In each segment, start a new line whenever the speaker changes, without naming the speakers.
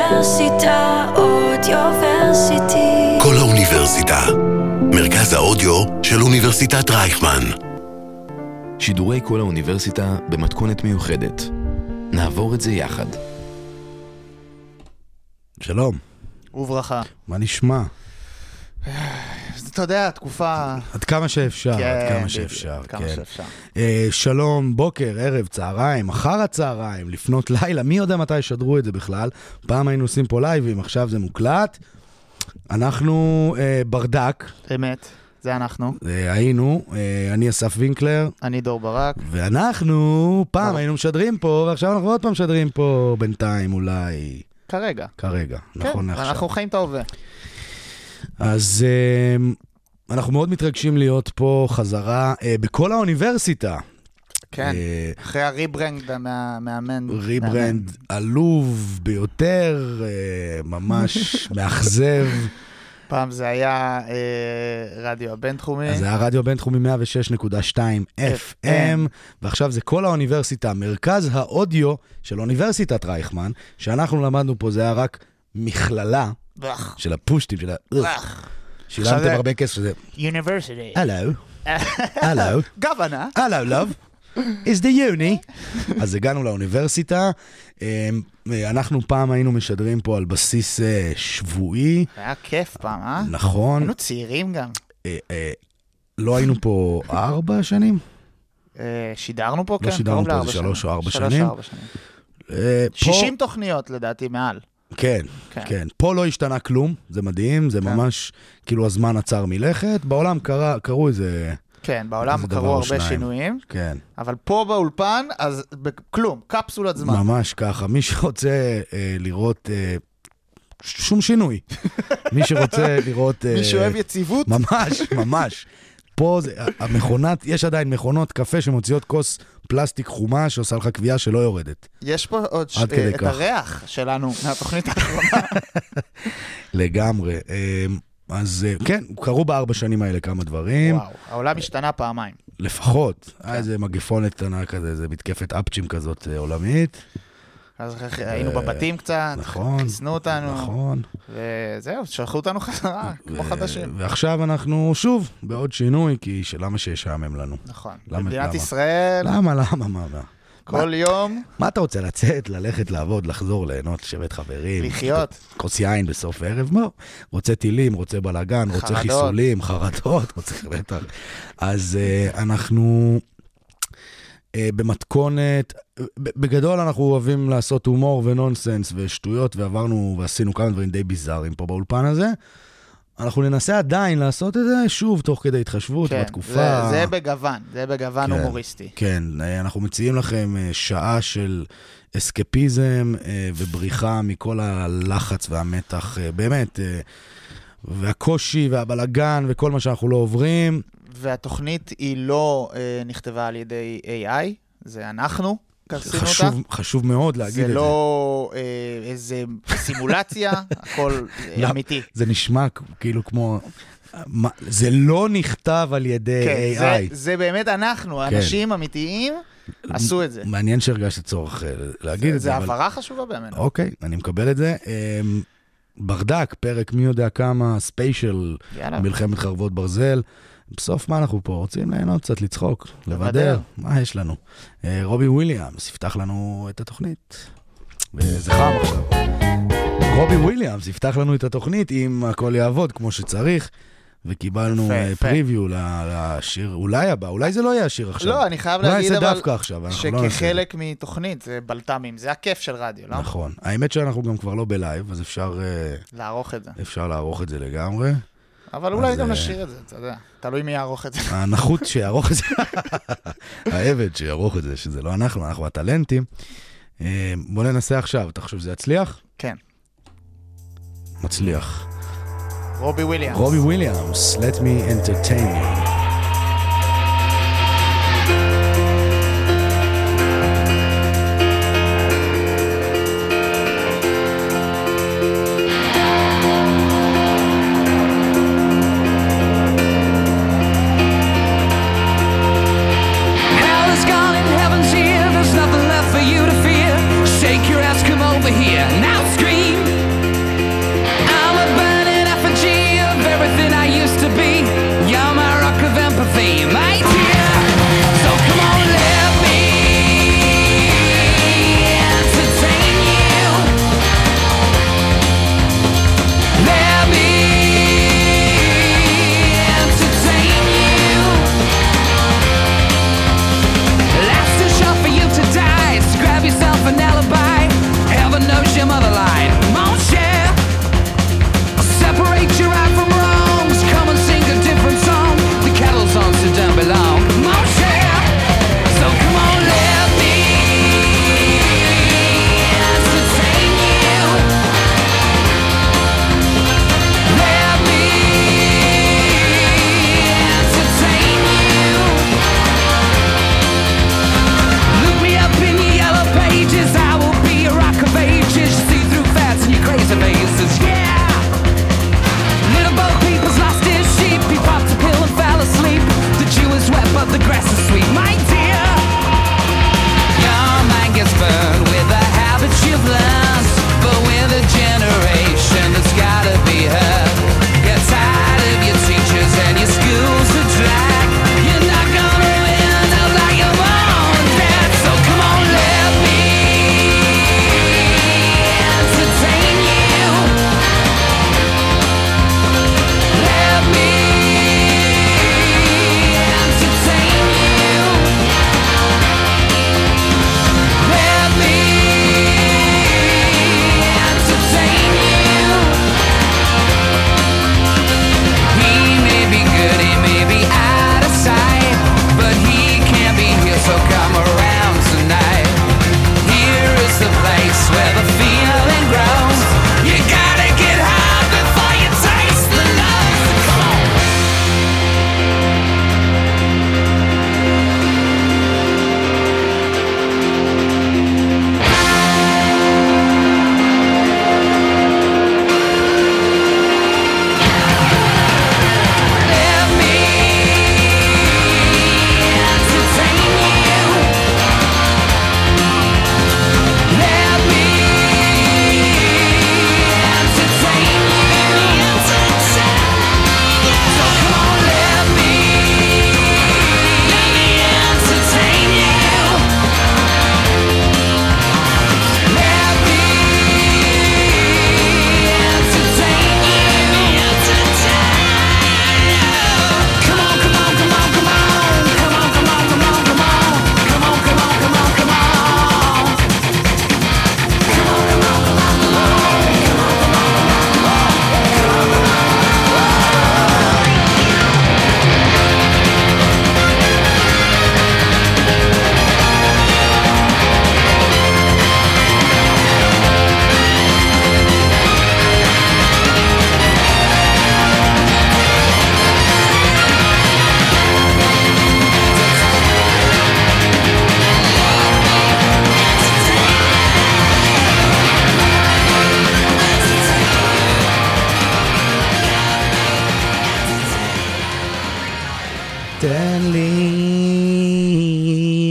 אודיוורסיטה, אודיוורסיטי.
כל האוניברסיטה. מרכז האודיו של אוניברסיטת רייכמן.
שידורי כל האוניברסיטה במתכונת מיוחדת. נעבור את זה יחד.
שלום,
וברכה.
מה נשמע?
אז אתה יודע, תקופה...
עד כמה שאפשר, עד כמה שאפשר,
כן, עד כמה
כן.
שאפשר.
אה, שלום, בוקר, ערב, צהריים, אחר הצהריים, לפנות לילה, מי יודע מתי ישדרו את זה בכלל? פעם היינו עושים פה לייבים, עכשיו זה מוקלט. אנחנו אה, ברדק,
אמת, זה אנחנו.
אה, היינו, אה, אני אסף וינקלר,
אני דור ברק.
ואנחנו פעם
אה.
היינו משדרים פה, ועכשיו אנחנו עוד פעם משדרים פה בינתיים אולי,
כרגע.
כרגע, נכון
כן,
לעכשיו.
אנחנו חיים את ההווה.
אז אמ, אנחנו מאוד מתרגשים להיות פה חזרה אה, בכל האוניברסיטה.
כן.
אה,
אחרי הריברנד מהמאמן.
ריברנד עלוב ביותר, אה, ממש מאכזב.
מאמן. פעם זה היה אה, אה. רדיו הבינתחומי.
אז זה היה רדיו בינתחומי 106.2 FM, ועכשיו זה כל האוניברסיטה, מרכז האודיו של אוניברסיטת רייכמן, שאנחנו למדנו פה, זה היה רק מכללה
וואח,
של הפושטים, של ה...
וואח.
שילמתם
זה-
הרבה כסף, זה...
University.
הלו,
אה.
הלו.
גוונה.
הלו, לב, is the uni. אז הגענו לאוניברסיטה, אמ, אה, אנחנו פעם היינו משדרים פה על בסיס אה, שבועי,
היה כיף פעם, אה?
נכון,
היינו צעירים גם.
אה, אה, לא היינו פה ארבע שנים?
אה, שידרנו פה, כן?
לא שידרנו
קרוב
פה איזה
לארבע
שלוש
שנים.
או ארבע
שלוש
שנים.
או ארבע שנים.
אה, פה-
60 תוכניות לדעתי מעל.
כן,
כן.
כן. פה לא השתנה כלום, זה מדהים, זה ממש, כאילו הזמן עצר מלכת. בעולם קרה- קרו איזה,
כן, בעולם
איזה דבר
קרו
או
הרבה
שניים.
שינויים.
כן.
אבל פה באולפן, אז ב- כלום, קפסולת זמן.
ממש ככה. מי שרוצה אה, לראות אה, ש- שום שינוי. מי שרוצה לראות... אה,
מי שאוהב יציבות,
ממש, ממש. פה זה, המכונת, יש עדיין מכונות קפה שמוציאות כוס פלסטיק חומה שעושה לך קביעה שלא יורדת.
יש פה עוד ש-
עד
אה,
כדי
את
כך.
הריח שלנו מהתוכנית האחרונה.
לגמרי. אמ, אז אה, כן, קרו בארבע שנים האלה כמה דברים,
וואו, כן. העולם השתנה פעמיים.
לפחות. היה איזה מגפונת קטנה כזה, איזה מתקפת אפצ'ים כזאת אה, עולמית,
אז אחרי- היינו בבתים קצת,
אה, נכון.
חיסנו אה, אותנו,
נכון. אה,
וזהו, שלחו אותנו חזרה, כמו חדשים.
ועכשיו אנחנו שוב בעוד שינוי, כי שלמה שישעמם לנו?
נכון.
למה-
במדינת
למה?
ישראל,
למה, כן, למה, מה, מה?
כל יום,
מה אתה רוצה, לצאת, ללכת, לעבוד, לחזור, ליהנות, לשבת חברים?
לחיות.
כוס יין בסוף הערב, מה? רוצה טילים, רוצה בלאגן, רוצה
חרדות.
חיסולים, חרדות, רוצה בטח. אז אה, אנחנו אה, במתכונת, ב- בגדול אנחנו אוהבים לעשות הומור ונונסנס ושטויות, ועברנו ועשינו כמה דברים די ביזאריים פה באולפן הזה. אנחנו ננסה עדיין לעשות את זה, שוב, תוך כדי התחשבות
כן,
בתקופה.
זה- זה בגוון, זה בגוון
כן.
הומוריסטי.
כן, אה, אנחנו מציעים לכם אה, שעה של אסקפיזם אה, ובריחה מכל הלחץ והמתח, אה, באמת, אה, והקושי והבלגן וכל מה שאנחנו לא עוברים.
והתוכנית היא לא אה, נכתבה על ידי AI, זה אנחנו, כך עשינו אותה.
חשוב, חשוב מאוד להגיד
זה
את
לא אה, איזה סימולציה, הכל אה,
לא.
אמיתי.
זה. זה נשמע כ- כאילו כמו... אה, מה, זה לא נכתב על ידי
כן,
AI.
זה- זה באמת
כן.
אנחנו, אנשים אמיתיים עשו את זה.
מעניין שהרגשת צורך אה, להגיד את זה.
זה
אבל-
הבהרה חשובה באמת.
אוקיי, אני מקבל את זה. אמ, ברדק, פרק מי יודע כמה, ספיישל,
יאללה.
מלחמת חרבות ברזל. בסוף מה אנחנו פה? רוצים ליהנות קצת, לצחוק, לבדר,
לבדר.
מה יש לנו? אה, רובי וויליאמס יפתח לנו את התוכנית. וזה חם עכשיו. רובי וויליאמס יפתח לנו את התוכנית אם הכל יעבוד כמו שצריך. וקיבלנו
יפה,
אה,
יפה.
פריוויו ל- לשיר, אולי הבא, אולי זה לא יהיה השיר עכשיו.
לא, אני חייב
אולי
להגיד
זה
אבל
דווקא עכשיו, אנחנו לא נעשה את זה.
שכחלק מתוכנית זה בלת"מים, זה הכיף של רדיו, לא?
נכון. האמת שאנחנו גם כבר לא בלייב, אז אפשר... אה,
לערוך את זה.
אפשר לערוך את זה לגמרי.
אבל
אז,
אולי גם
אה,
נשאיר את זה, אתה יודע. תלוי מי יערוך את זה.
הנחות שיערוך את זה, העבד שיערוך את זה, שזה לא אנחנו, אנחנו הטלנטים. אה, בוא ננסה עכשיו, אתה חושב שזה יצליח?
כן.
מצליח.
רובי וויליאמס.
רובי וויליאמס, let me entertain you.
Hell is gone and heaven's here. There's nothing left for you to fear. Shake your ass, come over here. Now scream.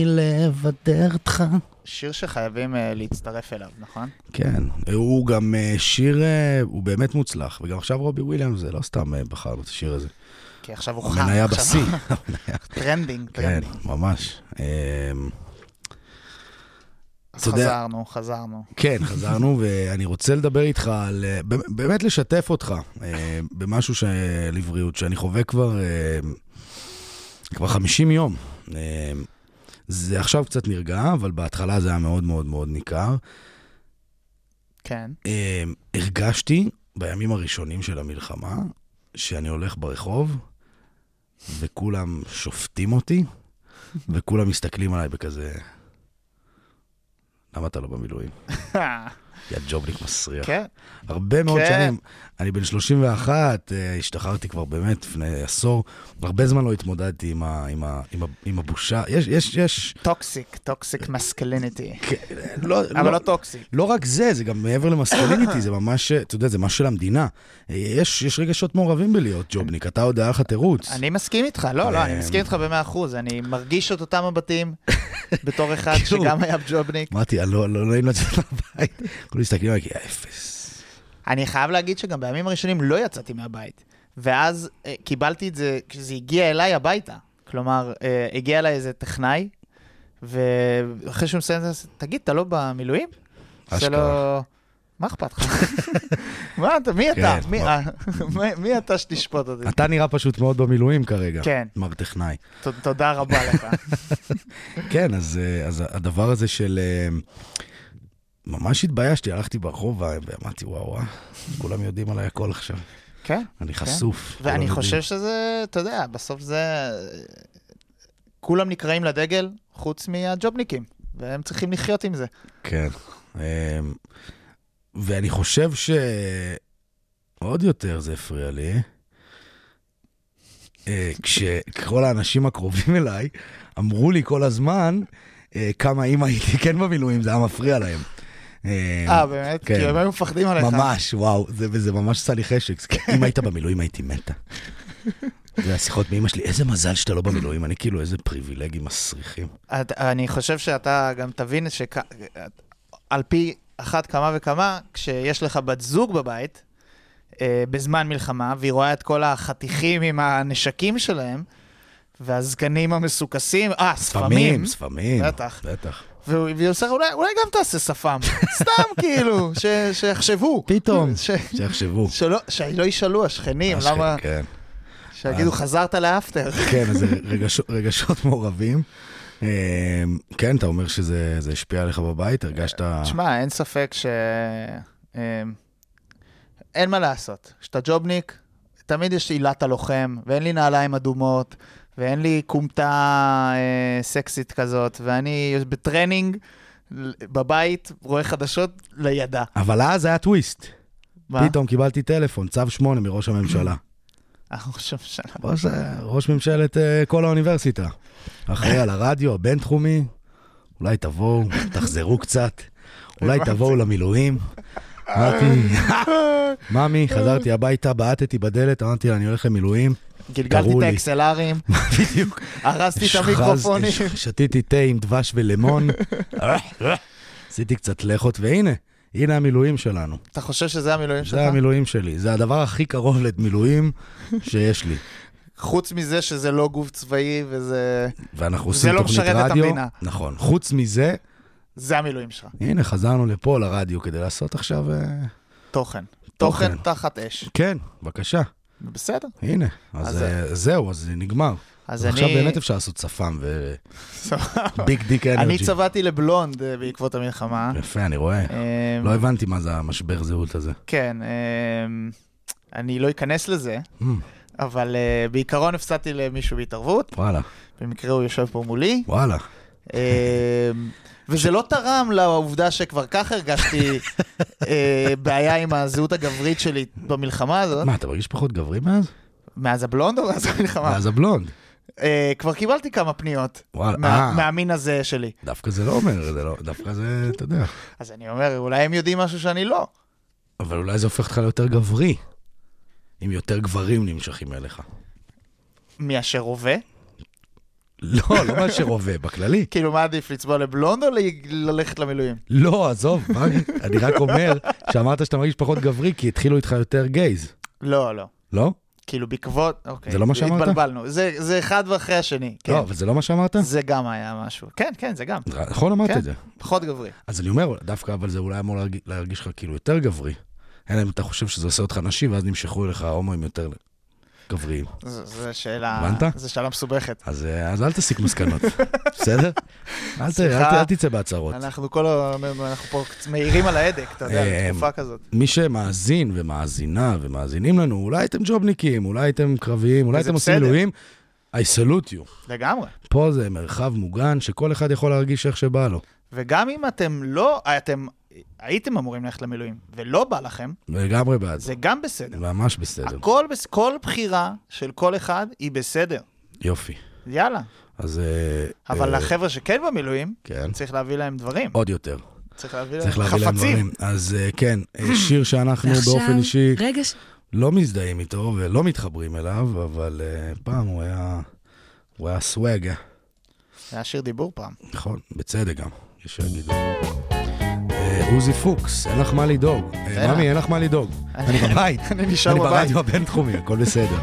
לסדר אותך.
שיר שחייבים אה, להצטרף אליו, נכון?
כן, הוא גם אה, שיר, אה, הוא באמת מוצלח, וגם עכשיו רובי וויליאמס, זה לא סתם אה, בחרנו את השיר הזה.
כי עכשיו הוא חם.
המניה
עכשיו-
בשיא.
טרנדינג,
כן,
טרנדינג.
ממש. אמ,
אז
אתה יודע-
חזרנו, חזרנו.
כן, חזרנו, ואני רוצה לדבר איתך על... אה, באמת- באמת לשתף אותך אה, במשהו ש- לבריאות, שאני חווה כבר אה, כבר 50 יום. אה, זה עכשיו קצת נרגע, אבל בהתחלה זה היה מאוד מאוד מאוד ניכר.
כן.
אה, הרגשתי בימים הראשונים של המלחמה, שאני הולך ברחוב, וכולם שופטים אותי, וכולם מסתכלים עליי בכזה... למה אתה לא במילואים? יא ג'ובניק מסריח.
כן,
הרבה מאוד
כן.
שנים. אני בן 31, אה, השתחררתי כבר באמת לפני עשור. הרבה זמן לא התמודדתי עם ה- עם ה- עם ה- עם הבושה. יש, יש, יש...
טוקסיק, טוקסיק מסקליניטי.
כן, לא,
אבל
לא-
לא טוקסיק.
לא רק זה, זה גם מעבר למסקליניטי, זה ממש, אתה יודע, זה משהו של המדינה. יש, יש רגשות מעורבים בלהיות ג'ובניק, אתה עוד היה לך תירוץ.
אני מסכים איתך, לא, לא, אני
אמ.
מסכים איתך במאה אחוז, אני מרגיש את אותם הבתים בתור אחד
כאילו.
שגם היה ג'ובניק.
אמרתי, "אה, לא לא נעים לצאת מהבית. כולם מסתכלים עליי, יא אפס.
אני חייב להגיד שגם בימים הראשונים לא יצאתי מהבית, ואז אה, קיבלתי את זה, כשזה הגיע אליי הביתה. כלומר, אה, הגיע אליי איזה טכנאי, ואחרי שהוא מסיים את זה, תגיד, אתה לא במילואים? עושה לו,
אשכרה.
מה אכפת לך? מה אתה, מי אתה?
כן,
מי- אה,
מה-
מי- מי אתה שתשפוט אותי?
אתה נראה פשוט מאוד במילואים כרגע,
כן.
מר טכנאי.
ת- תודה רבה לך.
כן, אז, אה, אז הדבר הזה של... אה, ממש התביישתי, הלכתי ברחוב ואמרתי, וואו, וואו, כולם יודעים עליי הכל עכשיו.
כן.
אני חשוף. כולם
ואני
יודעים."
חושב שזה, אתה יודע, בסוף זה... כולם נקראים לדגל, חוץ מהג'ובניקים, והם צריכים לחיות עם זה.
כן. אמ, ואני חושב ש... עוד יותר זה הפריע לי, אה, כשכל האנשים הקרובים אליי אמרו לי כל הזמן אה, כמה אם הייתי כן במילואים, זה היה מפריע להם. אה,
אה, באמת?
כן.
כי הם היו מפחדים עליך.
ממש, וואו, זה, וזה ממש עשה לי חשק. אם היית במילואים הייתי מתה. זה השיחות מאמא שלי, איזה מזל שאתה לא במילואים, אני כאילו איזה פריבילגים מסריחים.
את- אני חושב שאתה גם תבין שעל פי אחת כמה וכמה, כשיש לך בת זוג בבית, אה, בזמן מלחמה, והיא רואה את כל החתיכים עם הנשקים שלהם, והזקנים המסוכסים, אה, ספמים,
ספמים, ספמים.
בטח.
בטח.
והוא- והיא עושה, אולי, אולי גם תעשה שפם, סתם כאילו, ש, שיחשבו.
פתאום.
ש,
שיחשבו.
שלא, שלא ישאלו השכנים,
השכן,
למה,
כן. אה.
שיגידו, חזרת לאפטר.
כן, אז זה רגשו- רגשות מעורבים. אמ, כן, אתה אומר שזה זה השפיע עליך בבית, הרגשת...
תשמע, אין ספק ש... אמ, אין מה לעשות. כשאתה ג'ובניק, תמיד יש עילת הלוחם, ואין לי נעליים אדומות, ואין לי כומתה אה, סקסית כזאת, ואני בטרנינג ל- בבית רואה חדשות לידה.
אבל אז היה טוויסט.
מה?
פתאום קיבלתי טלפון, צו 8 מראש הממשלה.
אנחנו חושב שאנחנו...
ראש, ראש ממשלת אה, כל האוניברסיטה. אחראי
אה.
על הרדיו הבינתחומי, אולי תבואו, תחזרו קצת, אולי תבואו למילואים. אמרתי, ממי, חזרתי הביתה, בעטתי בדלת, אמרתי לה, אני הולך למילואים.
גלגלתי
תראו
את
לי.
האקסלרים,
בדיוק.
הרסתי את
אשחז-
המיקרופונים.
אש- שתיתי תה עם דבש ולימון, עשיתי קצת לחot, והנה, הנה המילואים שלנו.
אתה חושב שזה המילואים שלך?
זה המילואים שלי, זה הדבר הכי קרוב למילואים שיש לי.
חוץ מזה שזה לא גוף צבאי וזה...
ואנחנו עושים
לא
תוכנית
משרת את
רדיו.
המדינה.
נכון. חוץ מזה,
זה המילואים שלך.
הנה, חזרנו לפה לרדיו כדי לעשות עכשיו... אה,
תוכן.
תוכן.
תוכן תחת אש.
כן, בבקשה,
בסדר.
הנה. אז
אז-
אה, זהו, אז זה נגמר.
אז
אז עכשיו
אני...
באמת אפשר לעשות שפם וביג
סבבה.
דיק
אני
אנרג'י.
צבעתי לבלונד אה, בעקבות המלחמה.
יפה, אני רואה.
אמ,
לא הבנתי מה זה המשבר זהות הזה.
כן, אמ, אני לא אכנס לזה,
Mm,
אבל אה, בעיקרון הפסדתי למישהו בהתערבות,
וואלה,
במקרה הוא יושב פה מולי,
וואלה.
אמ, וזה לא תרם לעובדה שכבר כך הרגשתי אה, בעיה עם הזהות הגברית שלי במלחמה הזאת,
מה, אתה מרגיש פחות גברי מאז?
מאז הבלונד או מאז המלחמה?
מאז הבלונד.
אה, כבר קיבלתי כמה פניות
וואלה,
מה-
אה.
מהמין הזה שלי.
דווקא זה לא אומר, זה לא, דווקא זה, אתה יודע.
אז אני אומר, אולי הם יודעים משהו שאני לא.
אבל אולי זה הופך אותך ליותר גברי, אם יותר גברים נמשכים אליך.
מאשר הווה?
לא, לא מאשר הווה, בכללי.
כאילו, מה עדיף, לצבוע לבלונד או ל- ללכת למילואים?
לא, עזוב, מה- אני רק אומר שאמרת שאתה מרגיש פחות גברי, כי התחילו איתך יותר גייז,
לא, לא.
לא?
כאילו, בעקבות... אוקיי.
זה לא מה שאמרת?
התבלבלנו. זה זה אחד ואחרי השני. כן.
לא, אבל זה לא מה שאמרת?
זה גם היה משהו. כן, כן, זה גם.
נכון אמרת
כן.
את זה.
פחות גברי.
אז אני אומר, דווקא אבל זה אולי אמור להרג- להרגיש לך כאילו יותר גברי. אלא אם אתה חושב שזה עושה אותך נשי, ואז נמשכו אליך הומואים יותר גבריים.
ז- זו שאלה...
הבנת?
זו שאלה מסובכת.
אז אה, אז אל תסיק מסקנות, בסדר? אל ת- אל ת-
סליחה.
אל תצא בהצהרות.
אנחנו כל ה... אנחנו פה קצת מעירים על ההדק, אתה יודע,
אה,
תקופה כזאת.
מי שמאזין ומאזינה ומאזינים לנו, אולי הייתם ג'ובניקים, אולי הייתם קרביים, אולי
וזה
הייתם עושים
בסדר.
מילואים, I salute you.
לגמרי.
פה זה מרחב מוגן שכל אחד יכול להרגיש איך שבא לו.
וגם אם אתם לא... אתם הייתם אמורים ללכת למילואים, ולא בא לכם,
לגמרי בעד.
זה גם בסדר.
ממש בסדר.
הכל, בס- כל בחירה של כל אחד היא בסדר.
יופי.
יאללה.
אז... אה,
אבל
אה,
לחבר'ה שכן במילואים,
כן.
צריך להביא להם דברים.
עוד יותר.
צריך להביא להם
צריך להביא להם
חפצים.
דברים. אז אה, כן, אה, שיר שאנחנו באופן אישי
רגע, ש-
לא מזדהים איתו ולא מתחברים אליו, אבל אה, פעם הוא היה... הוא היה סוואגה.
זה היה שיר דיבור פעם.
נכון, בצדק גם, יש שיגידו. אה, עוזי פוקס, אין לך מה לדאוג. אה,
לך.
ממי, אין לך מה לדאוג. אני בבית.
אני נשאר
אני
בבית.
ברדיו הבינתחומי, הכל בסדר.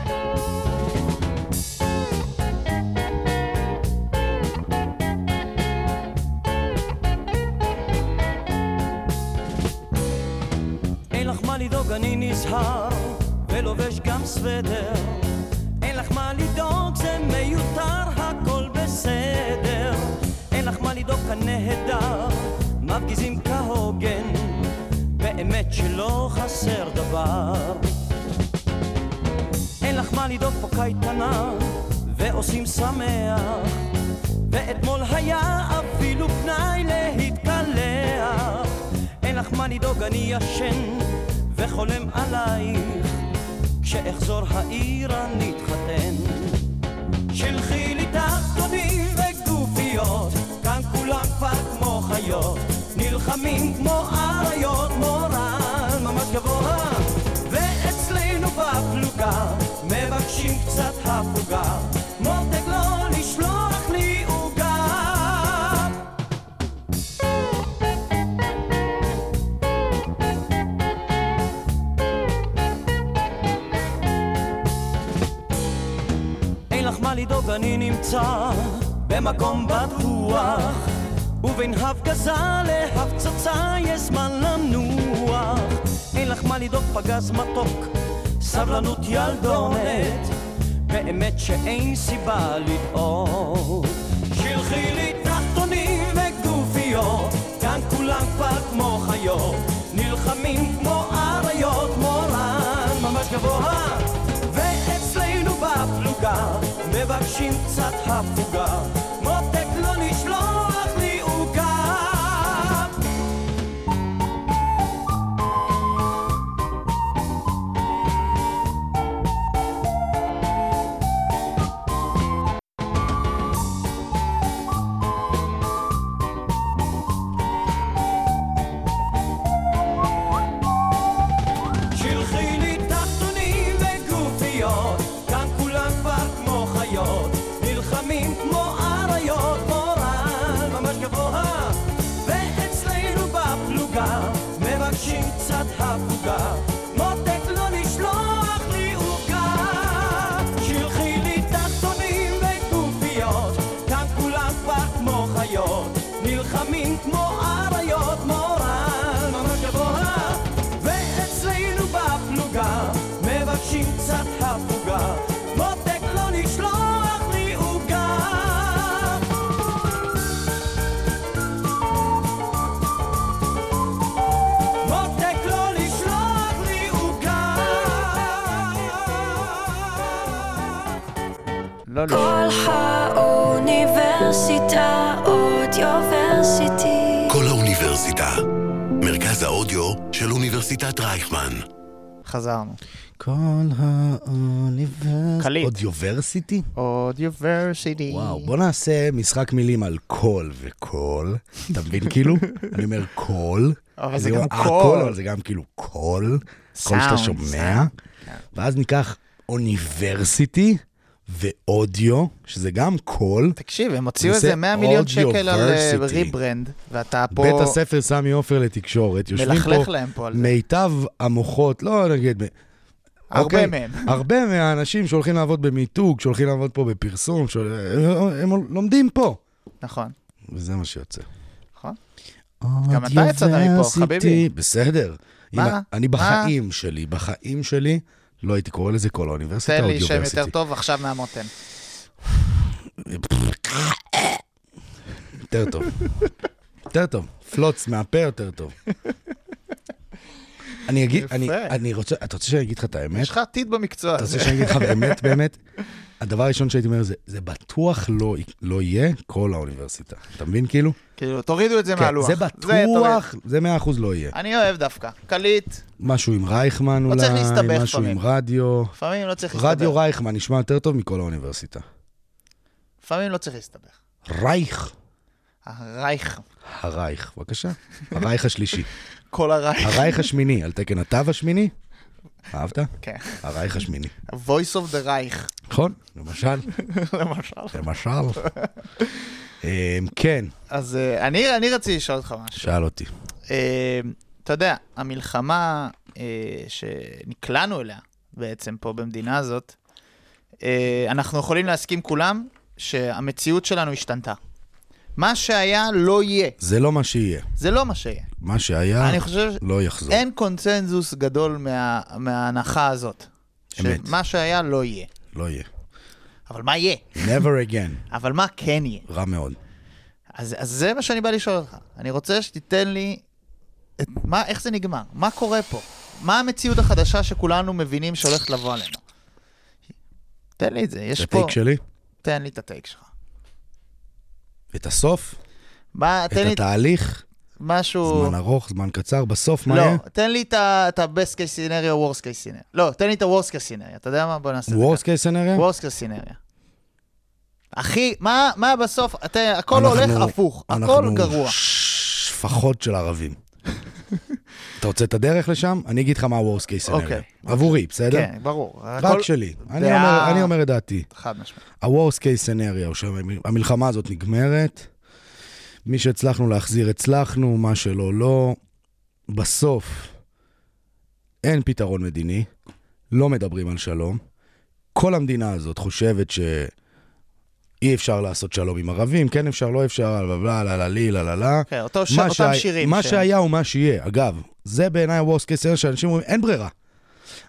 אין לך מה לדאוג, אני נזהר, ולובש גם סוודר. אין לך מה לדאוג, זה מיותר, הכל בסדר. אין לך מה לדאוג, כאן נהדר, מפגיזים כהוגן. באמת שלא חסר דבר. אין לך מה לדאוג, פה קייטנה, ועושים שמח. ואתמול היה אפילו פנאי להתקלח. אין לך מה לדאוג, אני ישן וחולם עלייך. כשאחזור העיר אני אתחתן. שלחי לי תחתונים וגופיות, כאן כולם כבר כמו חיות. נלחמים כמו אריות, מורל ממש גבוה. ואצלנו בפלוגה מבקשים קצת הפוגה. מותק לא לשלוח לי עוגה. אין לך מה לדאוג, אני נמצא במקום בטוח. ובין הפגזה להפצצה יש זמן לנוח. אין לך מה לדאוג, פגז מתוק, סבלנות ילדונת. באמת שאין סיבה לדאוג. שלחי לי תחתונים וגופיות, כאן כולם כבר כמו חיות. נלחמים כמו אריות, מורן ממש גבוה. ואצלנו בפלוגה מבקשים קצת הפוגה מותק לא לשלוח לי עוגה שלחי לי תחתונים וגופיות, כאן כולם כבר כמו חיות, נלחמים כמו אריות, מורל ממש גבוה. ואצלנו בפלוגה, מבקשים קצת הפוגה, מותק לא לשלוח לי עוגה. שלחי לי תחתונים וגופיות, כאן כולם כבר כמו חיות, נלחמים כמו אריות, מורל ממש גבוה. ואצלנו בפלוגה מבקשים קצת הפוגה מותק לא לשלוח לי עוגה מותק לא לשלוח לי עוגה
לא, לא.
כל האוניברסיטה אודיוורסיטי.
כל האוניברסיטה. מרכז האודיו של אוניברסיטת רייכמן.
חזרנו.
כל האוניברסיטי.
קליט.
אודיוורסיטי?
אודיוורסיטי.
וואו, בוא נעשה משחק מילים על קול וקול. אתה מבין כאילו? אני אומר קול.
אבל זה
אני
גם
אומר, "אה,
קול."
אבל זה גם כאילו קול. קול שאתה
סאונד,
שומע.
סאונד.
ואז ניקח אוניברסיטי, ואודיו, שזה גם קול.
תקשיב, הם הוציאו
זה
איזה 100 מיליון שקל על אה,
Audioversity.
ריברנד, ואתה פה
בית הספר סמי עופר לתקשורת, יושבים פה...
מלכלך להם פה על זה.
מיטב המוחות, לא נגיד...
הרבה מהם.
אוקיי. הרבה מהאנשים שהולכים לעבוד במיתוג, שהולכים לעבוד פה בפרסום, שהול... הם לומדים פה.
נכון,
וזה מה שיוצא.
נכון. גם אתה יצאת מפה, חביבי.
Audioversity. בסדר.
מה?
אם- אני
מה?
בחיים שלי, בחיים שלי, לא הייתי קורא לזה כל האוניברסיטה,
תן לי שם
Audioversity.
יותר טוב עכשיו מהמותן.
יותר טוב. יותר טוב. פלוץ מהפה יותר טוב. אני אגיד,
יפה.
אני, אני רוצה, אתה רוצה שאני אגיד לך את האמת?
יש לך עתיד במקצוע
אתה
הזה.
רוצה שאני אגיד לך באמת, באמת? הדבר הראשון שהייתי אומר זה, זה בטוח לא, לא יהיה כל האוניברסיטה. אתה מבין כאילו?
כאילו, תורידו את זה
כן,
מהלוח.
זה
תוריד.
בטוח, זה מאה אחוז לא יהיה.
אני אוהב דווקא. קליט,
משהו עם רייכמן אולי,
לא צריך להסתבך
משהו עם
לפעמים.
רדיו.
לפעמים לא צריך להסתבך.
רדיו רייכמן נשמע יותר טוב מכל האוניברסיטה.
לפעמים לא צריך להסתבך.
רייך,
הרייך,
הרייך, בבקשה. הרייך השלישי.
כל הרייך.
הרייך השמיני, על תקן התו השמיני. אהבת?
כן.
הרייך השמיני.
voice of the רייך,
נכון, למשל,
למשל.
למשל. אמ, כן,
אז אה, אני אני רציתי לשאול אותך משהו.
שאל אותי.
אה, אתה יודע, המלחמה אה, שנקלענו אליה בעצם פה במדינה הזאת, אה, אנחנו יכולים להסכים כולם שהמציאות שלנו השתנתה. מה שהיה לא יהיה,
זה לא מה שיהיה.
זה לא מה שיהיה.
מה שהיה
אני חושב ש-
לא יחזור.
אין קונצנזוס גדול מה- מההנחה הזאת.
אמת.
שמה שהיה לא יהיה.
לא יהיה.
אבל מה יהיה?
never again.
אבל מה כן יהיה?
רע מאוד.
אז, אז זה מה שאני בא לשאול אותך. אני רוצה שתיתן לי את מה, איך זה נגמר, מה קורה פה, מה המציאות החדשה שכולנו מבינים שהולכת לבוא עלינו. תן לי את זה, יש
זה
פה...
הטייק שלי,
תן לי את הטייק שלך.
את הסוף,
מה,
את
תן לי
התהליך,
משהו...
זמן ארוך, זמן קצר, בסוף מה יהיה?
לא, תן לי את ה- את ה-best case scenario, worst case scenario. לא, תן לי את ה-worst case scenario, אתה יודע מה? בוא נעשה את זה.
worst case
ככה.
scenario?
worst case scenario. אחי, מה, מה בסוף, אתה, הכל הולך
אנחנו-
הפוך, הכל
אנחנו
גרוע.
שפחות של ערבים. אתה רוצה את הדרך לשם? אני אגיד לך מה ה-Worst case
אוקיי.
scenario. עבורי, בסדר?
כן, ברור.
רק שלי. אני
דעה-
אומר- אני אומר את דעתי.
חד משמעית.
ה-Worst case scenario, שהמלחמה הזאת נגמרת, מי שהצלחנו להחזיר, הצלחנו, מה שלא, לא. בסוף, אין פתרון מדיני, לא מדברים על שלום. כל המדינה הזאת חושבת שאי אפשר לעשות שלום עם ערבים, כן אפשר, לא אפשר, בלה בלה לה לה לי, לה לה לה.
כן, אותו ש...
מה
אותם
שהיה-
שירים.
מה
ש-
שהיה הוא מה שיהיה. אגב, זה בעיניי ה-Worst case scenario שאנשים אומרים, אין ברירה.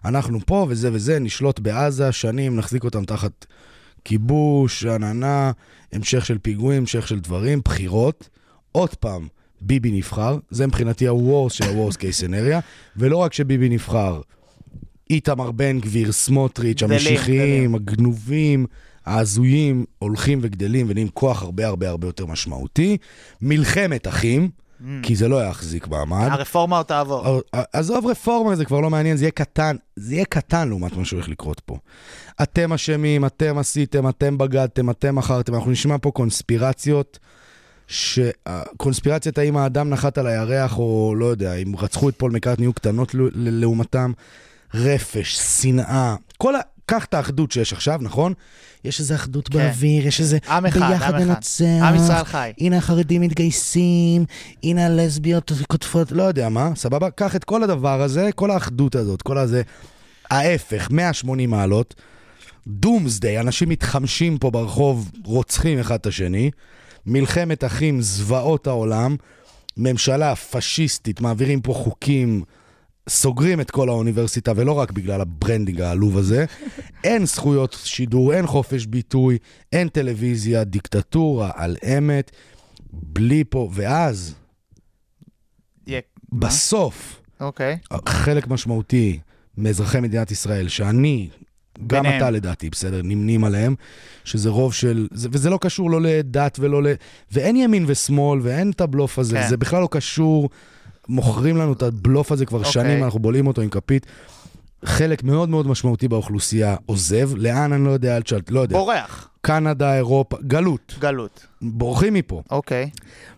אנחנו פה וזה וזה, נשלוט בעזה שנים, נחזיק אותם תחת כיבוש, עננה, המשך של פיגועים, המשך של דברים, בחירות. עוד פעם, ביבי נבחר, זה מבחינתי ה-Worst של ה-Worst case scenario, ולא רק שביבי נבחר, איתמר בן גביר, סמוטריץ',
גדלים,
המשיחיים, הגנובים, ההזויים, הולכים וגדלים ונהיים כוח הרבה הרבה הרבה יותר משמעותי. מלחמת אחים,
Mm.
כי זה לא יחזיק מעמד.
הרפורמה עוד תעבור.
אה, עזוב רפורמה, זה כבר לא מעניין, זה יהיה קטן, זה יהיה קטן לעומת מה שהולך לקרות פה. אתם אשמים, אתם עשיתם, אתם בגדתם, אתם מכרתם, אנחנו נשמע פה קונספירציות, ש... קונספירציית האם האדם נחת על הירח, או לא יודע, אם רצחו את פול מקארטני, היו קטנות ל- ל- לעומתם, רפש, שנאה, כל ה... קח את האחדות שיש עכשיו, נכון? יש איזו אחדות
כן.
באוויר, יש איזה
עם אחד,
ביחד
עם אחד.
ננצח.
עם ישראל חי.
הנה החרדים מתגייסים, הנה הלסביות כותפות, לא יודע מה, סבבה? קח את כל הדבר הזה, כל האחדות הזאת, כל הזה, ההפך, 180 מעלות, דומסדיי, אנשים מתחמשים פה ברחוב, רוצחים אחד את השני, מלחמת אחים, זוועות העולם, ממשלה פשיסטית, מעבירים פה חוקים. סוגרים את כל האוניברסיטה, ולא רק בגלל הברנדינג העלוב הזה. אין זכויות שידור, אין חופש ביטוי, אין טלוויזיה, דיקטטורה על אמת, בלי פה, ואז,
יהיה-
בסוף,
מה? אוקיי.
חלק משמעותי מאזרחי מדינת ישראל, שאני, גם
ביניהם.
אתה לדעתי, בסדר, נמנים עליהם, שזה רוב של, זה, וזה לא קשור לא לדת ולא ל... ואין ימין ושמאל, ואין את הבלוף הזה,
כן.
כן. זה בכלל לא קשור, מוכרים לנו את הבלוף הזה כבר
אוקיי.
שנים, אנחנו בולעים אותו עם כפית. חלק מאוד מאוד משמעותי באוכלוסייה עוזב, לאן אני לא יודע, אל תשאל, לא יודע.
בורח.
קנדה, אירופה, גלות,
גלות.
בורחים מפה.
אוקיי.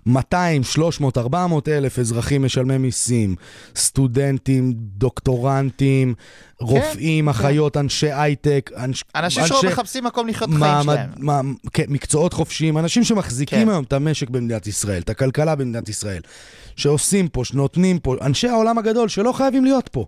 200, 300, 400 אלף אזרחים משלמי מיסים, סטודנטים, דוקטורנטים, רופאים, אחיות, אנשי הייטק, אנש-
כן, אנשים שלא מחפשים מקום לחיות את החיים
מעמד-
שלהם.
מה, כן, מקצועות חופשיים, אנשים שמחזיקים
כן.
היום את המשק במדינת ישראל, את הכלכלה במדינת ישראל, שעושים פה, שנותנים פה, אנשי העולם הגדול שלא חייבים להיות פה.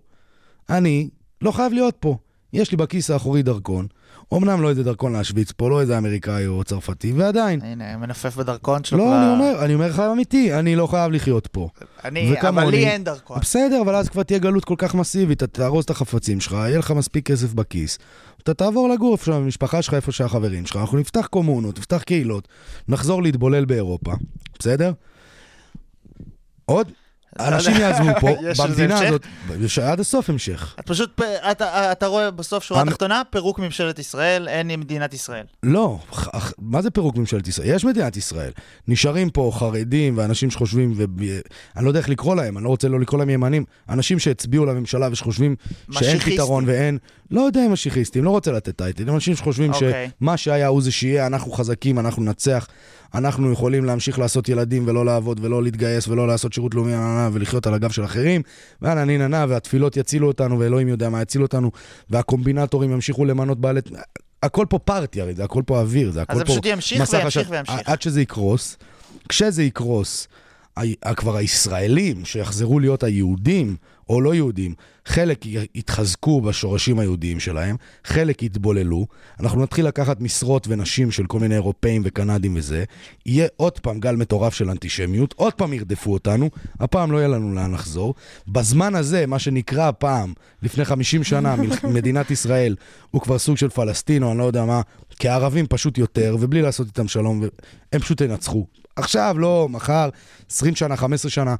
אני לא חייב להיות פה. יש לי בכיס האחורי דרכון, אמנם לא איזה דרכון להשוויץ פה, לא איזה אמריקאי או צרפתי, ועדיין.
הנה, מנפף בדרכון שלו
לא,
כבר.
אני אומר, אני אומר לך אמיתי, אני לא חייב לחיות פה.
אני, אבל
וכמוני-
לי אין דרכון.
בסדר, אבל אז כבר תהיה גלות כל כך מסיבית, אתה תארוז את החפצים שלך, יהיה לך מספיק כסף בכיס. אתה תעבור לגור איפה שהמשפחה שלך, איפה שהחברים שלך, אנחנו נפתח קומונות, נפתח קהילות, נחזור להתבולל באירופה, בסדר? עוד? אנשים יעזבו פה,
לא יש לזה
במדינה
המשך?
הזאת, יש עד הסוף המשך.
את פשוט, פ- אתה, אתה רואה בסוף שורה
המ-
תחתונה, פירוק ממשלת ישראל, אין עם מדינת ישראל.
לא, ח- ח- מה זה פירוק ממשלת ישראל? יש מדינת ישראל. נשארים פה חרדים ואנשים שחושבים, ו... אני לא יודע איך לקרוא להם, אני לא רוצה לא לקרוא להם ימנים, אנשים שהצביעו לממשלה ושחושבים שאין
משיחיסטים.
פתרון ואין, לא יודע אם משיחיסטים, לא רוצה לתת טייטל, הם אנשים שחושבים
אוקיי.
שמה שהיה הוא זה שיהיה, אנחנו חזקים, אנחנו ננצח, אנחנו יכולים להמשיך לעשות ילדים ולא לעבוד ולא להתגייס ולא לעשות שירות לאומי אה, ולחיות על הגב של אחרים, ואנה ניננה, והתפילות יצילו אותנו, ואלוהים יודע מה יציל אותנו, והקומבינטורים ימשיכו למנות בעלי... הכל פה פארטי, הרי זה הכל פה אוויר, זה הכל פה...
זה פשוט ימשיך
מסך
וימשיך
עשן.
וימשיך.
עד שזה יקרוס, כשזה יקרוס, ה- ה- כבר הישראלים שיחזרו להיות היהודים, או לא יהודים, חלק י- יתחזקו בשורשים היהודיים שלהם, חלק יתבוללו, אנחנו נתחיל לקחת משרות ונשים של כל מיני אירופאים וקנדים וזה, יהיה עוד פעם גל מטורף של אנטישמיות, עוד פעם ירדפו אותנו, הפעם לא יהיה לנו לאן לחזור. בזמן הזה, מה שנקרא פעם, לפני 50 שנה, מל- מדינת ישראל הוא כבר סוג של פלסטין, או אני לא יודע מה, כי הערבים פשוט יותר, ובלי לעשות איתם שלום, ו- הם פשוט ינצחו. עכשיו, לא, מחר, 20 שנה, 15 שנה,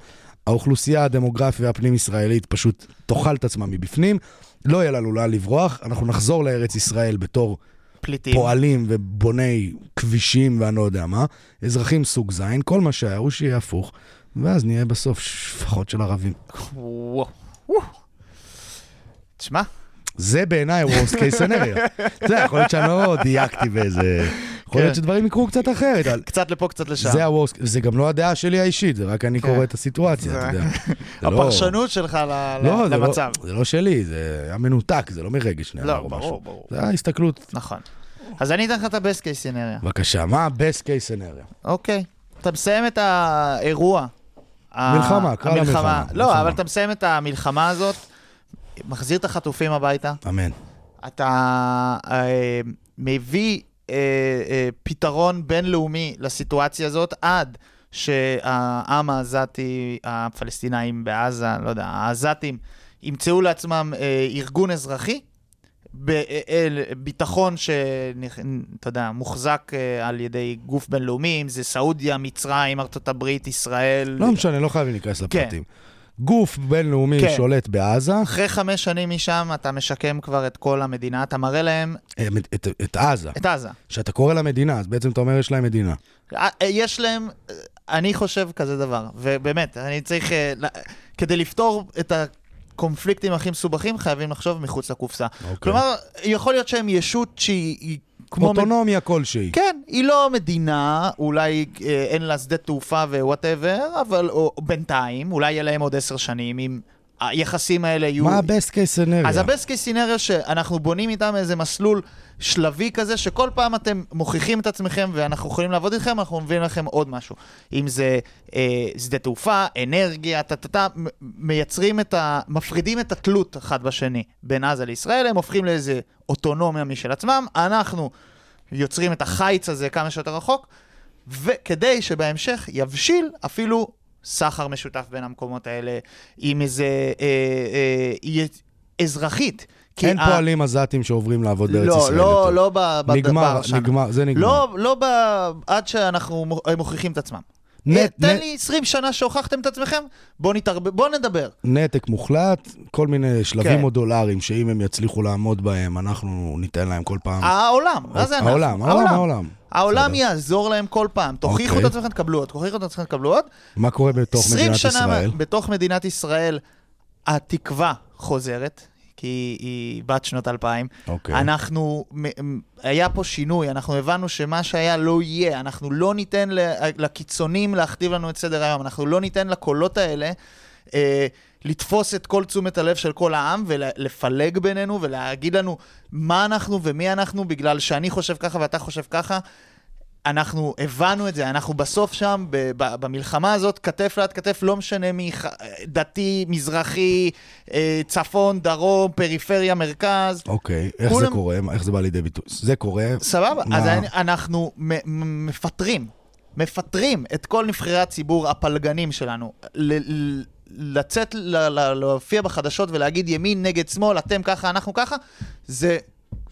האוכלוסייה הדמוגרפיה הפנים-ישראלית פשוט תאכל את עצמה מבפנים, לא יהיה לנו לאן לברוח, אנחנו נחזור לארץ ישראל בתור
פליטים.
פועלים ובוני כבישים ואני לא יודע מה, אזרחים סוג זין, כל מה שהיה הוא שיהיה הפוך, ואז נהיה בסוף שפחות של ערבים.
וואו. וואו. תשמע,
זה בעיניי ה-Worst case scenario. אתה יודע, יכול להיות שאני לא דייקתי באיזה... יכול להיות
כן.
שדברים יקרו קצת אחרת. אבל
קצת לפה, קצת לשם.
זה ה-Worst, זה גם לא הדעה שלי האישית, זה רק אני
כן.
קורא את הסיטואציה,
זה-
אתה יודע. זה לא-
הפרשנות שלך ל- ל-
לא, זה לא-
למצב.
זה לא שלי, זה היה מנותק, זה לא מרגש נאמר
לא,
או
ברור,
משהו.
ברור.
זה היה הסתכלות.
נכון. אז אני אתן לך את ה-best case scenario.
בבקשה, מה ה-Best case scenario?
אוקיי. אתה מסיים את האירוע. ה-
מלחמה, קרא לה
המלחמה.
מלחמה,
לא,
מלחמה.
אבל אתה מסיים את המלחמה הזאת, מחזיר את החטופים הביתה,
אמן.
אתה אה, מביא אה, אה, פתרון בינלאומי לסיטואציה הזאת עד שהעם העזתי, הפלסטינאים בעזה, לא יודע, העזתים, ימצאו לעצמם אה, ארגון אזרחי. אה, בביטחון שאתה יודע, מוחזק אה, על ידי גוף בינלאומי, אם זה סעודיה, מצרים, ארצות הברית, ישראל.
לא משנה, לא חייבים להיכנס
כן.
לפרטים. גוף בינלאומי
כן.
שולט בעזה,
אחרי חמש שנים משם אתה משקם כבר את כל המדינה, אתה מראה להם
אה, את- את עזה.
את עזה.
כשאתה קורא לה מדינה, אז בעצם אתה אומר יש להם מדינה.
אה, אה, יש להם, אה, אני חושב כזה דבר, ובאמת, אני צריך, אה, ל- כדי לפתור את הקונפליקטים הכי מסובכים, חייבים לחשוב מחוץ לקופסה.
אוקיי.
כלומר, יכול להיות שהם ישות שהיא היא כמו... מד-
אוטונומיה כלשהי.
כן, היא לא מדינה, אולי אה, אין לה שדה תעופה ווואטאבר, אבל או, בינתיים, אולי יהיה להם עוד עשר שנים, אם היחסים האלה יהיו...
מה ה-best case scenario?
אז הבסט קייס סינריו שאנחנו בונים איתם איזה מסלול שלבי כזה, שכל פעם אתם מוכיחים את עצמכם ואנחנו יכולים לעבוד איתכם, אנחנו מביאים לכם עוד משהו. אם זה אה, שדה תעופה, אנרגיה, טה-טה-טה, מ- מייצרים את ה... מפרידים את התלות אחד בשני בין עזה לישראל, הם הופכים לאיזה אוטונומיה משל עצמם, אנחנו יוצרים את החיץ הזה כמה שיותר רחוק, וכדי שבהמשך יבשיל אפילו סחר משותף בין המקומות האלה, עם איזה אה, אה, אה, אזרחית. כי
אין
ה-
פועלים עזתים שעוברים לעבוד בארץ
לא,
ישראל.
לא,
יותר.
לא ב- בדבר
נגמר,
שם.
נגמר, זה נגמר.
לא, לא ב... עד שאנחנו מוכ- הם מוכיחים את עצמם.
נט-
אה, תן
נט-
לי 20 שנה שהוכחתם את עצמכם, בוא נתערב... בוא נדבר.
נתק מוחלט, כל מיני שלבים
כן.
מודולריים, שאם הם יצליחו לעמוד בהם, אנחנו ניתן להם כל פעם. אוקיי.
העולם, אה, מה זה אנחנו?
העולם, העולם, העולם.
העולם
בסדר.
יעזור להם כל פעם. תוכיחו את
אוקיי.
עצמכם, תקבלו עוד, תוכיחו את עצמכם, תקבלו עוד.
מה קורה בתוך
20
מדינת
שנה
ישראל?
בתוך מדינת ישראל, התקווה חוזרת, כי כי היא- היא בת שנות 2000.
אוקיי.
אנחנו, מ- מ- היה פה שינוי, אנחנו הבנו שמה שהיה לא יהיה, אנחנו לא ניתן ל- לקיצונים להכתיב לנו את סדר היום, אנחנו לא ניתן לקולות האלה אה, לתפוס את כל תשומת הלב של כל העם ולפלג בינינו ולהגיד לנו מה אנחנו ומי אנחנו בגלל שאני חושב ככה ואתה חושב ככה. אנחנו הבנו את זה, אנחנו בסוף שם, ב- ב- במלחמה הזאת, כתף ליד כתף, לא משנה מי ח- דתי, מזרחי, אה, צפון, דרום, פריפריה, מרכז.
אוקיי, איך זה
כולם-
קורה? מה- איך זה בא לידי ביטוי? זה קורה.
סבבה,
מה-
אז אני- אנחנו מ- מ- מפטרים, מפטרים את כל נבחרי הציבור הפלגנים שלנו. ל- ל- לצאת, ל- ל- להופיע בחדשות ולהגיד ימין נגד שמאל, אתם ככה, אנחנו ככה, זה,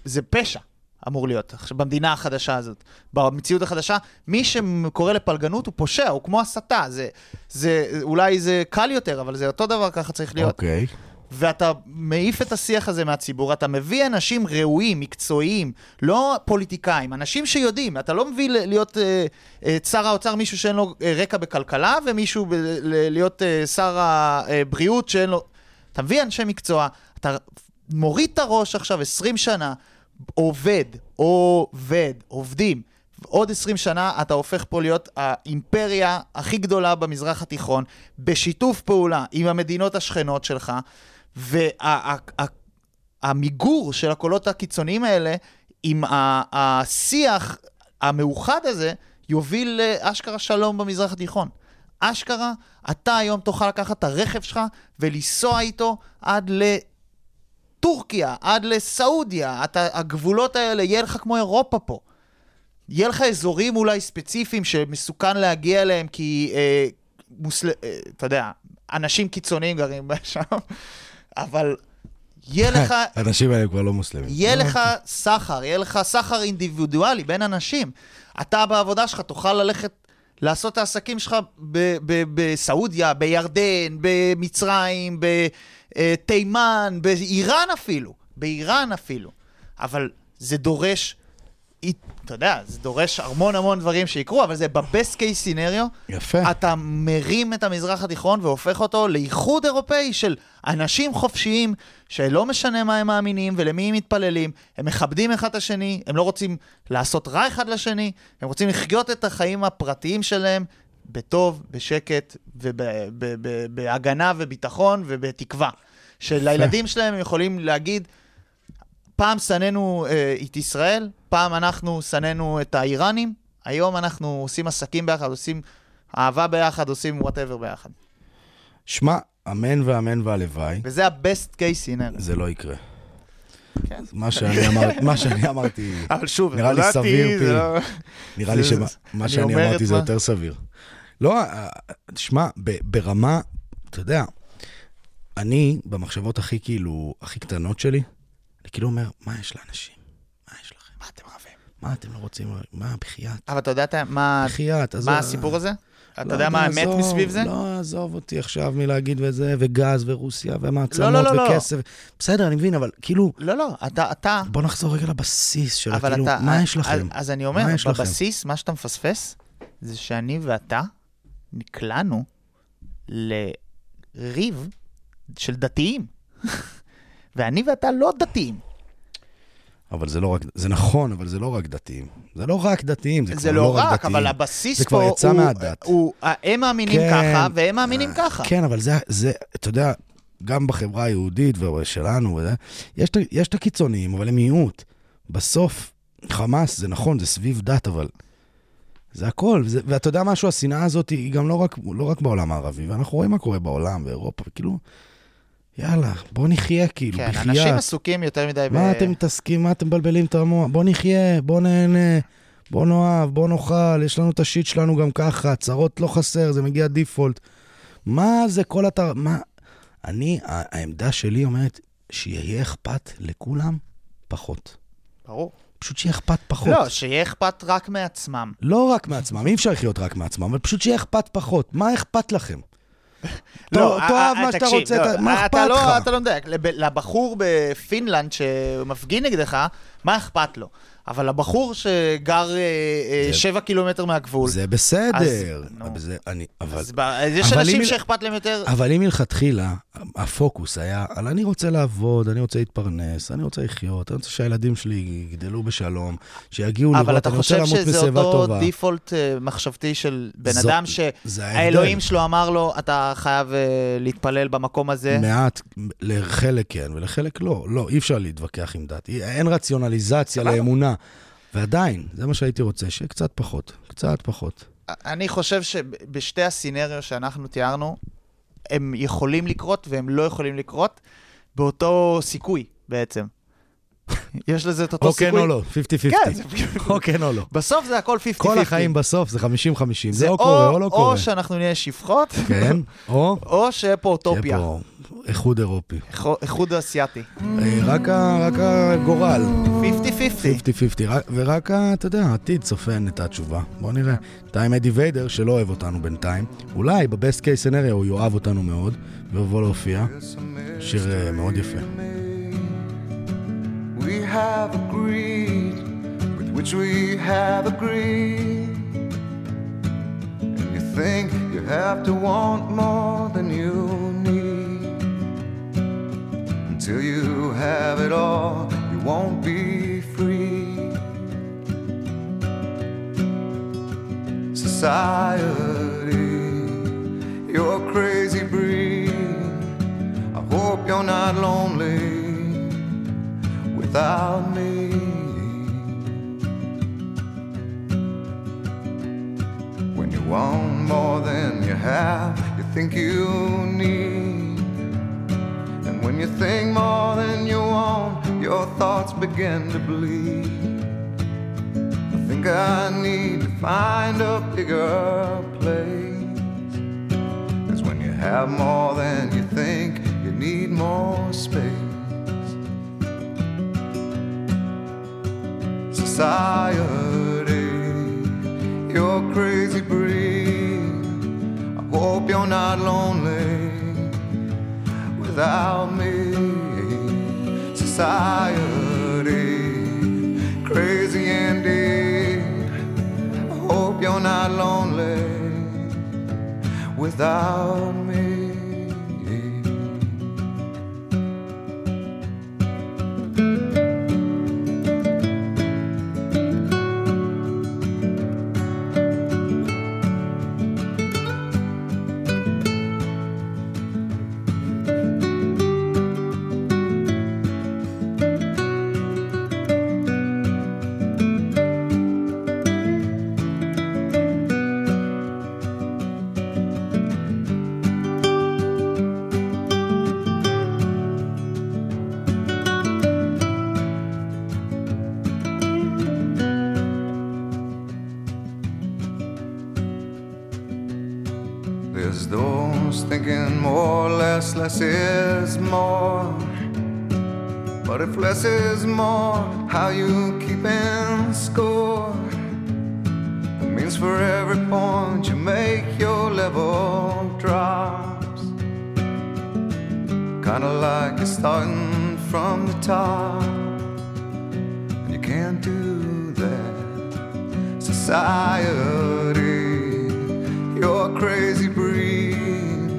זה פשע אמור להיות עכשיו במדינה החדשה הזאת, במציאות החדשה. מי שקורא לפלגנות הוא פושע, הוא כמו הסתה, זה, זה, אולי זה קל יותר, אבל זה אותו דבר, ככה צריך להיות.
אוקיי.
ואתה מעיף את השיח הזה מהציבור, אתה מביא אנשים ראויים, מקצועיים, לא פוליטיקאים, אנשים שיודעים, אתה לא מביא ל- להיות אה, אה, את שר האוצר מישהו שאין לו אה, רקע בכלכלה, ומישהו ב- ל- להיות אה, שר הבריאות שאין לו... אתה מביא אנשי מקצוע, אתה מוריד את הראש עכשיו 20 שנה, עובד, עובד, עובדים. עוד 20 שנה אתה הופך פה להיות האימפריה הכי גדולה במזרח התיכון, בשיתוף פעולה עם המדינות השכנות שלך, והמיגור של הקולות הקיצוניים האלה, עם ה- השיח המאוחד הזה, יוביל לאשכרה שלום במזרח התיכון. אשכרה, אתה היום תוכל לקחת את הרכב שלך ולנסוע איתו עד ל... טורקיה, עד לסעודיה, אתה, הגבולות האלה, יהיה לך כמו אירופה פה. יהיה לך אזורים אולי ספציפיים שמסוכן להגיע אליהם כי, אה, מוסל... אה, אתה יודע, אנשים קיצוניים גרים שם, אבל יהיה לך,
האנשים האלה כבר לא מוסלמים.
יהיה לך סחר, יהיה לך סחר אינדיבידואלי בין אנשים. אתה בעבודה שלך תוכל ללכת לעשות את העסקים שלך ב- ב- בסעודיה, בירדן, במצרים, בתימן, באיראן אפילו, באיראן אפילו. אבל זה דורש, אי- אתה יודע, זה דורש המון המון דברים שיקרו, אבל זה ב-best case scenario,
יפה.
אתה מרים את המזרח התיכון והופך אותו לאיחוד אירופאי של אנשים חופשיים, שלא משנה מה הם מאמינים ולמי הם מתפללים, הם מכבדים אחד את השני, הם לא רוצים לעשות רע אחד לשני, הם רוצים לחיות את החיים הפרטיים שלהם בטוב, בשקט, ובהגנה וביטחון ובתקווה. שלילדים שלהם הם יכולים להגיד, פעם שנאנו אה, את ישראל, פעם אנחנו שנאנו את האיראנים, היום אנחנו עושים עסקים ביחד, עושים אהבה ביחד, עושים וואטאבר ביחד.
שמע, אמן ואמן והלוואי,
וזה ה-best case scenario.
זה לא יקרה.
כן.
מה שאני אמר- מה שאני אמרתי,
אבל שוב,
נראה לי
נולדתי,
סביר,
זה
פי.
לא-
נראה לי
זה-
שמה
זה-
מה
אני
שאני
אומר
אמרתי
את
זה
מה-
יותר סביר. לא, אה, תשמע, ב- ברמה, אתה יודע, אני, במחשבות הכי כאילו, הכי קטנות שלי, אני כאילו אומר, מה יש לאנשים? מה יש לכם? מה אתם רבים? מה אתם לא רוצים? מה, בחייאת?
אבל אתה יודע אתה- מה
בחייאת, עזוב.
מה הסיפור הזה?
לא,
אתה יודע מה האמת
עזוב,
מסביב זה?
לא, עזוב אותי עכשיו מלהגיד וזה, וגז ורוסיה
לא,
ומעצמות
לא, לא.
וכסף. בסדר, אני מבין, אבל כאילו,
לא, לא, אתה, אתה,
בוא נחזור רגע לבסיס של
אבל
כאילו,
אתה,
מה יש לכם?
אז- אז אני אומר,
מה יש לכם?
בבסיס, מה שאתה מפספס, זה שאני ואתה נקלענו לריב של דתיים. ואני ואתה לא דתיים.
אבל זה לא רק, זה נכון, אבל זה לא רק דתיים. זה לא רק דתיים, זה,
זה
כבר
לא רק,
דתיים.
אבל הבסיס פה
זה כבר
הוא...
יצא מהדת.
הוא- הם מאמינים
כן.
ככה, והם מאמינים
אה,
ככה.
כן, אבל זה, זה, אתה יודע, גם בחברה היהודית ושלנו, וזה, יש, את ה- יש את הקיצוניים, אבל הם מיעוט. בסוף, חמאס, זה נכון, זה סביב דת, אבל... זה הכל, זה, ואתה יודע משהו, השנאה הזאת היא גם לא רק, לא רק בעולם הערבי, ואנחנו רואים מה קורה בעולם, באירופה, כאילו, יאללה, בוא נחיה, כאילו,
כן,
בחייאת.
אנשים עסוקים יותר מדי ב...
מה אתם מתעסקים, מה אתם מבלבלים את המוח? בוא נחיה, בוא נהנה, בוא נאהב, בוא נאכל, יש לנו את השיט שלנו גם ככה, צרות לא חסר, זה מגיע דיפולט. מה זה כל אתר, מה... אני, ה- העמדה שלי אומרת שיהיה אכפת לכולם פחות.
ברור.
פשוט שיהיה אכפת פחות.
לא, שיהיה אכפת רק מעצמם.
לא רק מעצמם, אי אפשר לחיות רק מעצמם, אבל פשוט שיהיה אכפת פחות. מה אכפת לכם?
לא,
תא- תאהב
אה,
מה שאתה
תקשיב,
רוצה,
לא,
אתה- מה
אתה
אכפת
לא-
לך?
אתה לא מדייק. לב- לבחור בפינלנד שמפגין נגדך, מה אכפת לו? אבל לבחור שגר אה, אה,
זה-
שבע קילומטר מהגבול,
זה בסדר.
נו.
זה- אני- אבל-
לא- אז ב- אז יש
אבל אם
אנשים
היא-
שאכפת להם יותר...
אבל אם מלכתחילה, הפוקוס היה על אני רוצה לעבוד, אני רוצה להתפרנס, אני רוצה לחיות, אני רוצה שהילדים שלי יגדלו בשלום, שיגיעו
אבל
לראות,
אתה
אני רוצה
חושב
למות
שזה
בשיבה
אותו
טובה.
דיפולט אה, מחשבתי של בן
זו-
אדם
זה
שהאלוהים
ההבדל.
שלו אמר לו, אתה חייב אה, להתפלל במקום הזה?
מעט, לחלק כן ולחלק לא. לא, אי אפשר להתווכח עם דת. אי- אין רציונליזציה
סבבה.
לאמונה. ועדיין, זה מה שהייתי רוצה, שיהיה קצת פחות, קצת פחות.
אני חושב שבשתי הסצנריו שאנחנו תיארנו, הם יכולים לקרות והם לא יכולים לקרות באותו סיכוי בעצם. יש לזה את אותו
או
סיכוי.
כן או לא, 50-50.
כן, זה-
או כן או לא.
בסוף זה הכל 50-50.
כל החיים בסוף זה 50-50, זה או קורה או לא קורה.
או שאנחנו נהיה שפחות,
כן, או...
או שיהיה פה
יהיה
אוטופיה,
פה איחוד אירופי.
איחו- איחוד אסיאתי.
אה, רק ה- רק הגורל.
50-50.
50-50, רק- ורק, ה- אתה יודע, העתיד צופן את התשובה. בוא נראה. אתה עם אדי ויידר, שלא אוהב אותנו בינתיים. אולי בבסט קייס סנריה הוא יאהב אותנו מאוד, ויבוא להופיע. שיר אה, מאוד יפה.
we have agreed, with which we have agreed. And you think you have to want more than you need. Until you have it all, you won't be free. Society, you're a crazy breed. I hope you're not lonely without me. When you want more than you have, you think you need. And when you think more than you want, your thoughts begin to bleed. I think I need to find a bigger place. Cause when you have more than you think, you need more space. society. You're a crazy breed. I hope you're not lonely without me. Society, crazy indeed. I hope you're not lonely without me. There's those thinking more, less, less is more. But if less is more, how you keeping score? It means for every point you make, your level drops. Kinda like you're starting from the top. And you can't do that society. You're a crazy breed.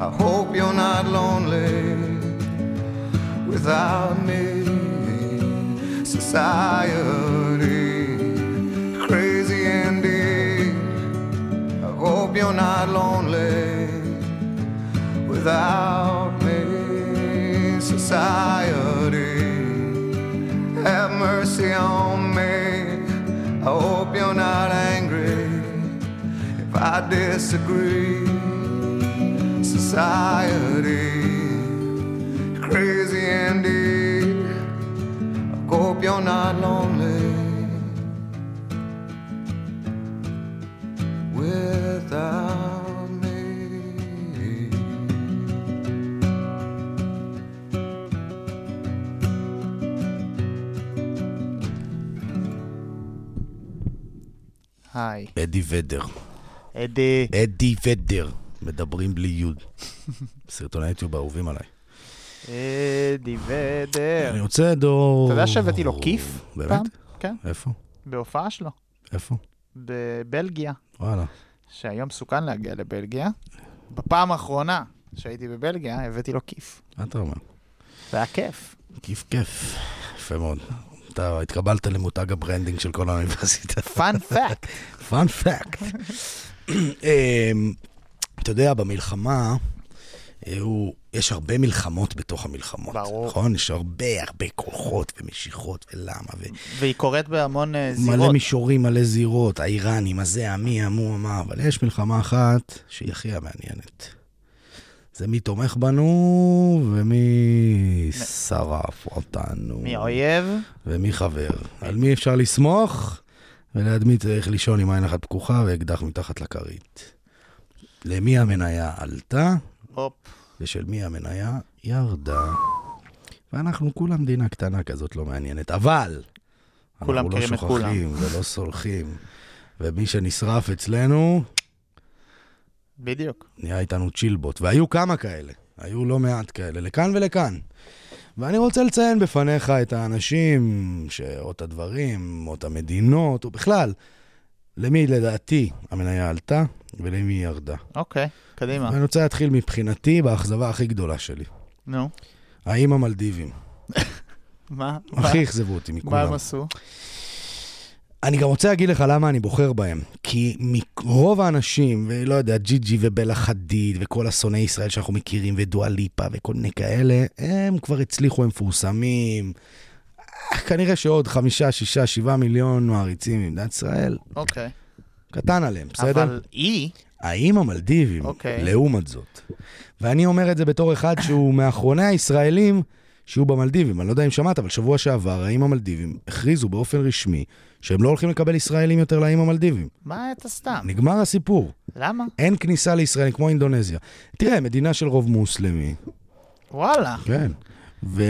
I hope you're not lonely without me. Society, crazy indeed. I hope you're not lonely without me. Society have mercy on me. I hope you're not angry if I disagree. Society, crazy indeed. I hope you're not lonely without me.
היי,
אדי ויידר.
אדי.
אדי ויידר. מדברים בלי יוד. סרטוני יוטיוב אהובים עליי.
אדי ודר.
אני רוצה דור...
אתה יודע שהבאתי לו כיף?
באמת?
פעם? כן,
איפה?
בהופעה שלו,
איפה?
בבלגיה,
וואלה.
שהיום סוכן להגיע לבלגיה. בפעם האחרונה שהייתי בבלגיה, הבאתי לו כיף.
מה אתה אומר?
זה היה כיף.
כיף כיף. יפה מאוד. אתה התקבלת למותג הברנדינג של כל האוניברסיטה.
פאנ פאק.
פאנ פאקט. אמ, אתה יודע, במלחמה, אה, הוא- יש הרבה מלחמות בתוך המלחמות.
ברור.
נכון? יש הרבה הרבה כוחות ומשיכות ולמה. ו...
והיא קורית בהמון אה,
מלא
זירות.
מישורים, מלא זירות, האיראנים, הזה, המי, המו, המה, אבל יש מלחמה אחת שהיא הכי המעניינת. זה מי תומך בנו ומי שרף אותנו.
מאויב,
ומי חבר. על מי אפשר לסמוך, וליד מי צריך לישון עם עין אחת פקוחה ואקדח מתחת לכרית. למי המניה עלתה,
הופ.
ושל מי המניה ירדה. ואנחנו כולם מדינה קטנה כזאת לא מעניינת, אבל...
כולם מכירים את
אנחנו לא שוכחים ולא סולחים, ומי שנשרף אצלנו,
בדיוק.
נהיה איתנו צ'ילבוט, והיו כמה כאלה, היו לא מעט כאלה, לכאן ולכאן. ואני רוצה לציין בפניך את האנשים, ש... או את הדברים, או את המדינות, או בכלל, למי לדעתי המניה עלתה ולמי היא ירדה.
אוקיי, קדימה.
ואני רוצה להתחיל מבחינתי באכזבה הכי גדולה שלי.
נו,
האם המלדיבים,
מה?
הכי אכזבו אותי
מה- מה
מכולם.
הם עשו?
אני גם רוצה להגיד לך למה אני בוחר בהם. כי מרוב האנשים, ולא יודע, ג'י ג'י ובלה חדיד, וכל השונאי ישראל שאנחנו מכירים, ודואליפה, וכל מיני כאלה, הם כבר הצליחו, הם מפורסמים. אה, כנראה שעוד חמישה, שישה, שבעה מיליון מעריצים במדינת ישראל,
אוקיי.
קטן עליהם, בסדר? אבל...
אבל היא,
האם המלדיבים,
אוקיי.
לעומת זאת, ואני אומר את זה בתור אחד שהוא מאחרוני הישראלים שהוא במלדיבים, אני לא יודע אם שמעת, אבל שבוע שעבר, האם המלדיבים הכריזו באופן רשמי שהם לא הולכים לקבל ישראלים יותר לאיים המלדיבים.
מה אתה סתם?
נגמר הסיפור,
למה?
אין כניסה לישראל כמו אינדונזיה. תראה, מדינה של רוב מוסלמי,
וואלה,
כן. ואז,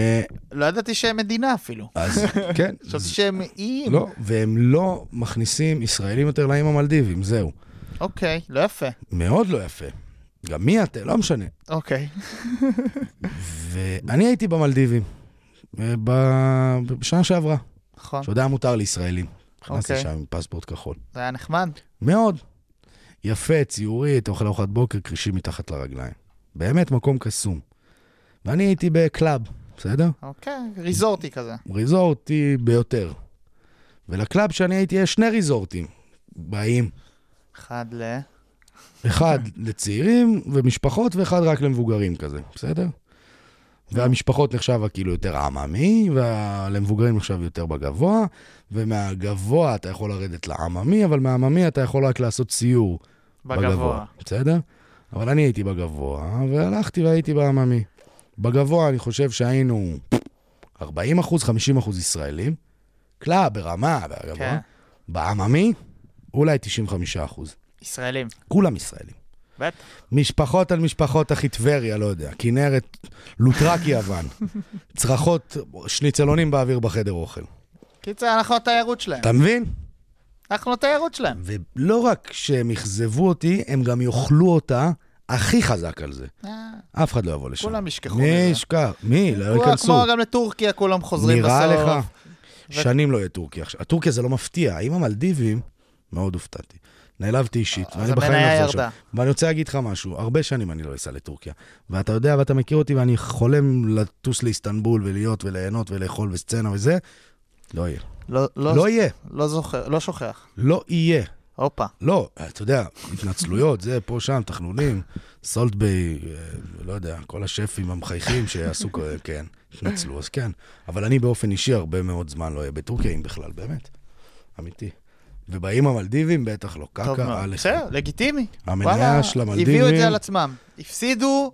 לא ידעתי שהם מדינה אפילו.
כן.
חשבתי שהם איים.
לא, והם לא מכניסים ישראלים יותר לאיים המלדיבים, זהו.
אוקיי, לא יפה.
מאוד לא יפה. גם מי אתם? לא משנה.
אוקיי.
ואני הייתי במלדיבים, אה, ב- בשנה שעברה,
נכון,
שעוד היה מותר לישראלים. נכנסתי
אוקיי.
שם עם פספורט כחול.
זה היה נחמד.
מאוד. יפה, ציורית, אוכל ארוחת בוקר, קרישים מתחת לרגליים. באמת מקום קסום. ואני הייתי בקלאב, בסדר?
אוקיי, ריזורטי כזה.
ריזורטי ביותר. ולקלאב שאני הייתי, יש שני ריזורטים בעיים.
אחד ל...
אחד
כן.
לצעירים ומשפחות, ואחד רק למבוגרים כזה, בסדר? והמשפחות נחשב כאילו יותר עממי, ולמבוגרים נחשב יותר בגבוה, ומהגבוה אתה יכול לרדת לעממי, אבל מהעממי אתה יכול רק לעשות סיור
בגבוה.
בסדר? אבל אני הייתי בגבוה, והלכתי והייתי בעממי. בגבוה אני חושב שהיינו 40 אחוז, 50 אחוז ישראלים, קלאב ברמה, בגבוה.
כן.
בעממי, אולי 95 אחוז.
ישראלים.
כולם ישראלים.
בטח.
משפחות על משפחות, אחי טבריה, לא יודע. כנרת, לוטרק יוון. צרחות, שניצלונים באוויר בחדר אוכל.
קיצר, אנחנו התיירות שלהם.
אתה מבין?
אנחנו התיירות שלהם.
ולא רק שהם אכזבו אותי, הם גם יאכלו אותה הכי חזק על זה.
אה,
אף אחד לא יבוא לשם.
כולם ישכחו
מי
מזה.
ישכח? מי? לא
כולם, כמו
ייכנסו.
גם לטורקיה, כולם חוזרים בסוף.
נראה לך? שנים לא יהיה טורקיה עכשיו. טורקיה זה לא מפתיע. עם המלדיבים, מאוד הופתעתי. נעלבתי אישית,
אה,
ואני בחיים
המניה
לא אחזור
ירדה.
שם. ואני רוצה להגיד לך משהו, הרבה שנים אני לא אסע לטורקיה. ואתה יודע ואתה מכיר אותי, ואני חולם לטוס לאיסטנבול ולהיות וליהנות ולאכול וסצנה וזה. לא יהיה.
לא-
לא יהיה.
לא זוכר, לא שוכח.
לא יהיה.
הופה.
לא, אתה יודע, התנצלויות, זה, פה, שם, תחנונים, סולטביי, אה, לא יודע, כל השפים המחייכים שיעשו, כ- כן, התנצלו, אז כן. אבל אני באופן אישי הרבה מאוד זמן לא אהיה בטורקיה, אם בכלל, באמת. אמיתי. ובאים המלדיבים, בטח לא.
טוב
קקה,
מאוד.
אלף.
בסדר, לגיטימי.
המניה
וואלה,
של
הביאו
המלדיבים-
את זה על עצמם. הפסידו,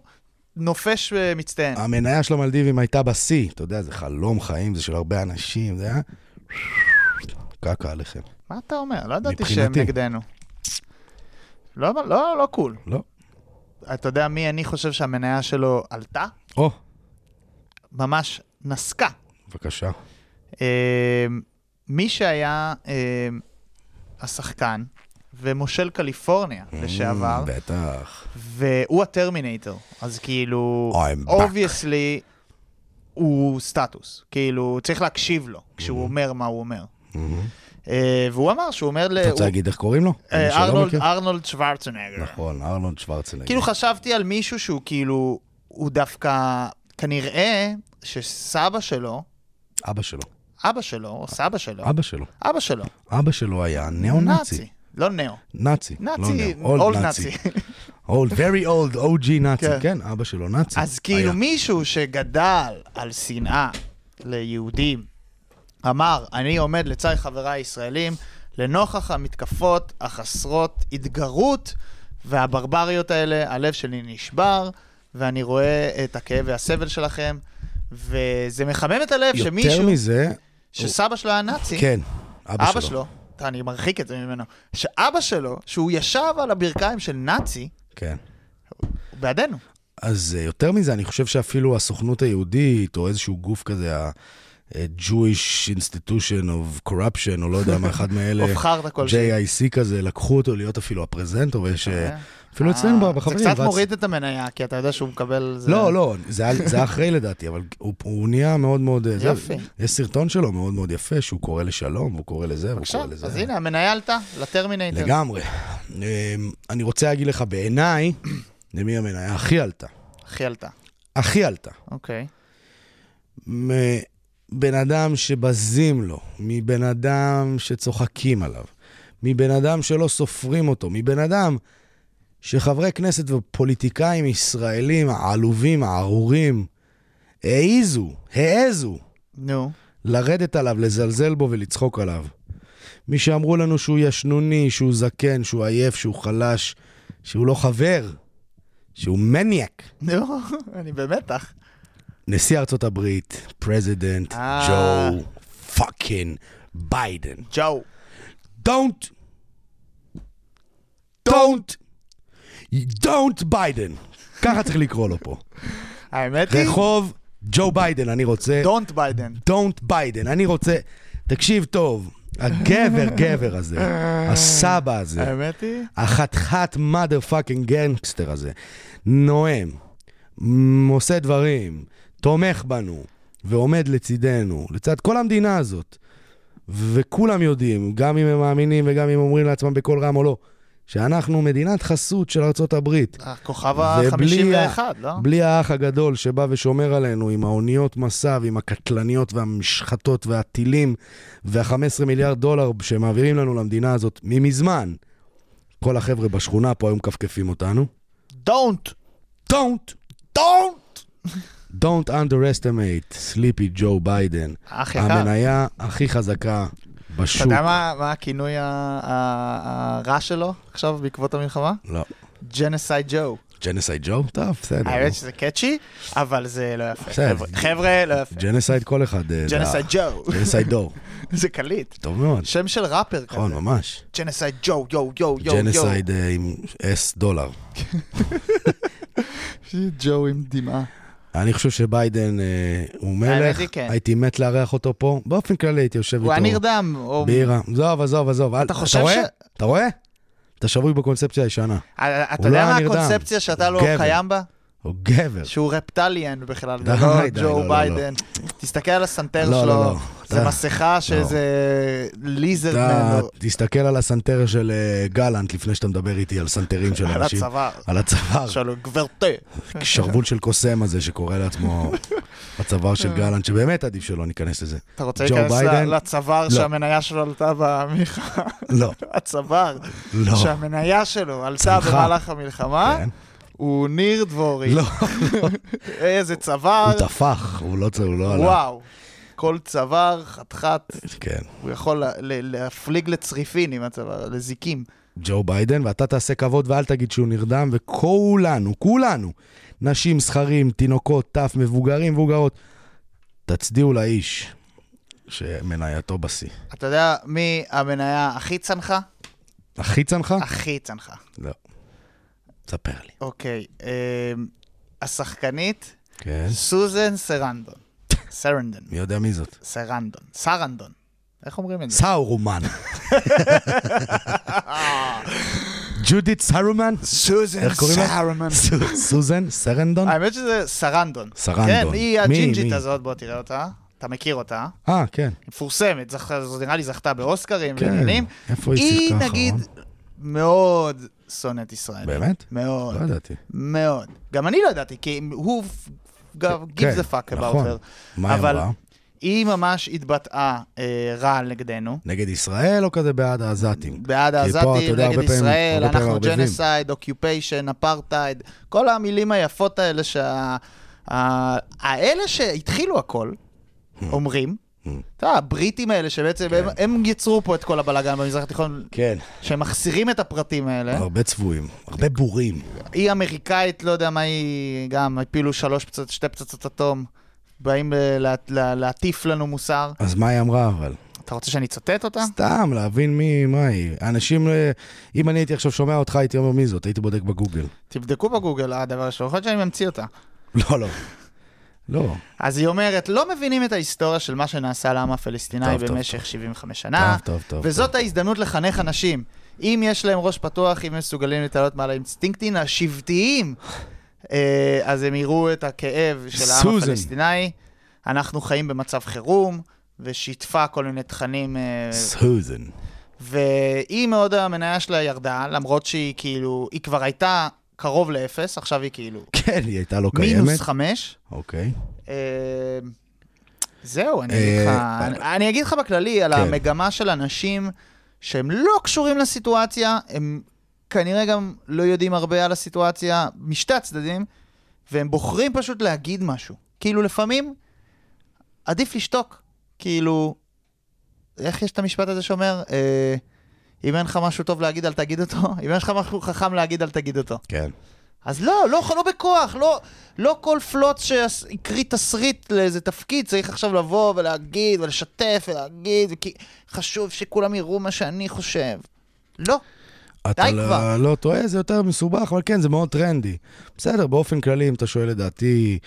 נופש אה, מצטיין.
המניה של המלדיבים הייתה בשיא, אתה יודע, זה חלום חיים, זה של הרבה אנשים, זה היה... קקה עליכם.
מה אתה אומר? לא ידעתי
מבחינתי.
שהם נגדנו. לא, לא, לא קול.
לא.
אתה יודע מי אני חושב שהמניה שלו עלתה?
או,
ממש נסקה.
בבקשה.
אה, מי שהיה אה, השחקן ומושל קליפורניה
Mm,
לשעבר, אה,
בטח.
והוא הטרמינטור, אז כאילו,
Oh, I'm back.
אובייסלי,
Mm-hmm.
הוא סטטוס, כאילו, צריך להקשיב לו כשהוא אומר מה הוא אומר. אה, והוא אמר שהוא אומר ל...
אתה רוצה
הוא-
להגיד איך קוראים לו?
אה,
למי שלא
ארנולד-
מכיר?
ארנולד שוורצנגר.
נכון, ארנולד שוורצנגר.
כאילו חשבתי על מישהו שהוא כאילו, הוא דווקא, כנראה שסבא שלו,
אבא שלו.
אבא שלו, או סבא שלו,
אבא שלו.
אבא שלו,
אבא שלו היה
נאצי,
ניאו-נאצי. לא
לא נאו,
נאצי.
נאצי, אולד נאצי.
אולד, very old, OG נאצי.
כן.
כן, אבא שלו נאצי.
אז כאילו
היה.
מישהו שגדל על שנאה ליהודים, אמר, אני עומד לצד חבריי הישראלים, לנוכח המתקפות החסרות התגרות והברבריות האלה, הלב שלי נשבר, ואני רואה את הכאב והסבל שלכם, וזה מחמם את הלב
יותר
שמישהו,
מזה,
שסבא שלו היה נאצי,
כן,
אבא שלו, אני מרחיק את זה ממנו, שאבא שלו, שהוא ישב על הברכיים של נאצי,
כן.
הוא בעדנו.
אז אה, יותר מזה, אני חושב שאפילו הסוכנות היהודית, או איזשהו גוף כזה, ה- אה, Jewish Institution of Corruption, או לא יודע מה, אחד מאלה,
או חרטא כלשהי.
JIC כזה, לקחו אותו להיות אפילו הפרזנטור, ויש... אה, אפילו אצלנו
אה,
בחברים.
זה קצת
רץ-
מוריד את המניה, כי אתה יודע שהוא מקבל... זה-
לא, לא, זה היה- זה היה אחרי לדעתי, אבל הוא- הוא נהיה מאוד מאוד... אה, זה-
יופי.
יש סרטון שלו מאוד מאוד יפה, שהוא קורא לשלום, הוא קורא לזה, הוא
עכשיו,
קורא לזה.
אז הנה, המניה עלתה לטרמינטר.
לגמרי. אמ, אני רוצה להגיד לך, בעיניי, למי המניה הכי עלתה.
הכי עלתה.
הכי עלתה.
אוקיי.
מבן אדם שבזים לו, מבן אדם שצוחקים עליו, מבן אדם שלא סופרים אותו, מבן אדם שחברי כנסת ופוליטיקאים ישראלים העלובים, הערורים, העיזו, העזו
נו.
לרדת עליו, לזלזל בו ולצחוק עליו. מי שאמרו לנו שהוא ישנוני, שהוא זקן, שהוא עייף, שהוא חלש, שהוא לא חבר, שהוא מניאק.
נו, אני במתח.
נשיא ארצות הברית, פרזידנט,
אה.
ג'ו פאקינג ביידן.
ג'ו.
Don't, don't, don't ביידן. ככה צריך לקרוא לו פה.
האמת היא,
רחוב ג'ו ביידן, אני רוצה.
דונט ביידן.
Don't ביידן, אני רוצה. תקשיב טוב, הגבר גבר הזה, הסבא הזה,
האמת היא,
החתיכת mother fucking גנגסטר הזה, נואם, מ- עושה דברים, תומך בנו, ועומד לצידנו, לצד כל המדינה הזאת. וכולם יודעים, גם אם הם מאמינים וגם אם אומרים לעצמם בקול רם או לא, שאנחנו מדינת חסות של ארצות הברית.
הכוכב
ובלי ה-
ה-51, לא?
בלי האח הגדול שבא ושומר עלינו עם האוניות מסע ועם הקטלניות והמשחטות והטילים וה-15 מיליארד דולר שמעבירים לנו למדינה הזאת ממזמן. כל החבר'ה בשכונה פה היו מכפכפים אותנו.
דונט.
Don't, don't, don't underestimate sleepy ג'ו ביידן.
אח יקר.
המניה הכי חזקה
אתה
בשוק.
יודע מה- מה הכינוי ה- ה- הרע שלו עכשיו בעקבות המלחמה?
לא.
ג'נסייד ג'ו.
ג'נסייד ג'ו? טוב, בסדר.
האמת שזה קאצ'י, אבל זה לא יפה.
בסדר.
חבר'ה- חבר'ה, לא יפה.
ג'נסייד כל אחד. אה,
ג'נסייד
זה-
ג'ו.
ג'נסייד דור.
זה קליט.
טוב מאוד.
שם של ראפר כזה.
נכון, ממש.
ג'נסייד ג'ו, יו, יו, יו, יו.
ג'נסייד אה, עם S דולר.
ג'ו עם דמעה.
אני חושב שביידן אה, הוא
האמת
מלך,
היא כן.
הייתי מת לארח אותו פה. באופן כללי הייתי יושב
הוא
איתו.
היה נרדם. או-
בירה. עזוב, עזוב, עזוב. אל-
חושב
רואה?
ש-
אתה רואה? אתה שבוי בקונספציה הישנה.
אה,
הוא
אתה יודע
לא
מה
היה נרדם.
הקונספציה שאתה לא
גבר.
קיים בה?
הוא גבר.
שהוא רפטליאן בכלל,
די,
זה לא
די, לא,
ג'ו
לא,
ביידן. תסתכל על הסנטר
לא, לא,
שלו,
לא.
זה
אתה-
מסכה שזה ליזרמן
אתה
או-
תסתכל על הסנטר של אה, גלנט לפני שאתה מדבר איתי על סנטרים של
על
אנשים.
הצוואר.
על הצוואר.
שלו, גברתי.
שרוול של קוסם הזה שקורא לעצמו הצוואר של
אה.
גלנט, שבאמת עדיף שלא ניכנס לזה.
אתה רוצה
ג'ו
להיכנס
ביידן?
ל- לצוואר
לא.
שהמניה שלו עלתה במלחמה?
לא,
הצוואר
לא.
שהמניה שלו עלתה
צמחה.
במהלך המלחמה,
כן.
הוא ניר דבורי.
לא,
איזה צוואר.
הוא טפח, הוא לא צ- הוא לא עלה.
וואו. כל צוואר, חתיכת,
כן.
הוא יכול ל- ל- להפליג לצריפין עם הצוואר, לזיקים.
ג'ו ביידן, ואתה תעשה כבוד ואל תגיד שהוא נרדם, וכולנו, כולנו, נשים, זכרים, תינוקות, טף, מבוגרים, מבוגרות, תצדיעו לאיש שמנייתו בשיא.
אתה יודע מי המניה הכי צנחה?
הכי צנחה?
הכי צנחה.
לא. תספר לי.
אוקיי, אמ, השחקנית
כן.
סוזן סרנדון. סרנדון.
מי יודע מי זאת?
סרנדון. סרנדון. איך אומרים את זה?
סאורומן. ג'ודית סאורומן?
סוזן
איך קוראים לה?
סרנדון.
סו- סוזן סרנדון?
האמת שזה סרנדון.
סרנדון.
כן,
מי,
היא הג'ינג'ית
מי?
הזאת, בוא תראה אותה. אתה מכיר אותה,
אה, כן.
היא מפורסמת, זכ- זו נראה לי זכתה באוסקרים
כן.
ועניינים.
איפה היא שיחקה
היא
האחרון?
נגיד מאוד שונאת ישראל.
אה? באמת?
מאוד.
לא ידעתי.
מאוד. גם אני לא ידעתי, כי הוא גיב
כן,
זה פאק about
נכון.
her.
מה היא
אבל-
אמרה?
היא ממש התבטאה אה, רע נגדנו.
נגד ישראל או כזה בעד העזתים?
בעד
כי פה, אתה
העזתים,
יודע,
נגד
הרבה פעמים-
ישראל,
הרבה פעמים
אנחנו
מערבבים.
ג'נסייד, אוקיופיישן, אפרטהייד, כל המילים היפות האלה שה... ה- האלה שהתחילו הכל,
Hmm.
אומרים, אתה יודע, הבריטים האלה שבעצם הם- הם יצרו פה את כל הבלאגן במזרח התיכון,
כן,
שהם מחסירים את הפרטים האלה.
הרבה צבועים, הרבה בורים.
היא אמריקאית, לא יודע מה היא, גם הפילו שלוש פצצות, שתי פצצות אטום, באים ל- לה- לה- להטיף לנו מוסר.
אז מה היא אמרה אבל?
אתה רוצה שאני אצטט אותה?
סתם, להבין מי, מה היא. אנשים, אה, אם אני הייתי עכשיו שומע אותך, הייתי אומר מי זאת, הייתי בודק בגוגל.
תבדקו בגוגל הדבר הראשון, יכול להיות שאני ממציא אותה.
לא, לא. לא.
אז היא אומרת, לא מבינים את ההיסטוריה של מה שנעשה לעם הפלסטיני
טוב, טוב,
במשך 75 שנה,
טוב, טוב, טוב,
אה, וזאת ההזדמנות לחנך אנשים. אם יש להם ראש פתוח, אם הם מסוגלים להתעלות מעל האינסטינקטים השבטיים, אה, אז הם יראו את הכאב של העם
סוזן.
הפלסטיני. אנחנו חיים במצב חירום, ושיתפה כל מיני תכנים, אה,
סוזן.
והיא מאוד, המניה שלה ירדה, למרות שהיא כאילו, היא כבר הייתה קרוב לאפס, עכשיו היא כאילו
כן, היא הייתה לא קיימת.
מינוס חמש.
אוקיי.
אה, זהו, אני
אה,
אגיד לך,
אה,
אני- אני אגיד לך בכללי על
כן.
המגמה של אנשים שהם לא קשורים לסיטואציה, הם כנראה גם לא יודעים הרבה על הסיטואציה משתי הצדדים, והם בוחרים פשוט להגיד משהו. כאילו לפעמים עדיף לשתוק, כאילו, איך יש את המשפט הזה שאומר, אה, אם אין לך משהו טוב להגיד אל תגיד אותו, אם יש לך משהו חכם להגיד אל תגיד אותו.
כן.
אז לא, לא, לא בכוח, לא, לא כל פלוץ שהקריא תסריט לאיזה תפקיד צריך עכשיו לבוא ולהגיד ולשתף ולהגיד, כי חשוב שכולם יראו מה שאני חושב. לא.
אתה
די
לא-
כבר.
לא טועה, זה יותר מסובך, אבל כן, זה מאוד טרנדי. בסדר, באופן כללי, אם אתה שואל לדעתי,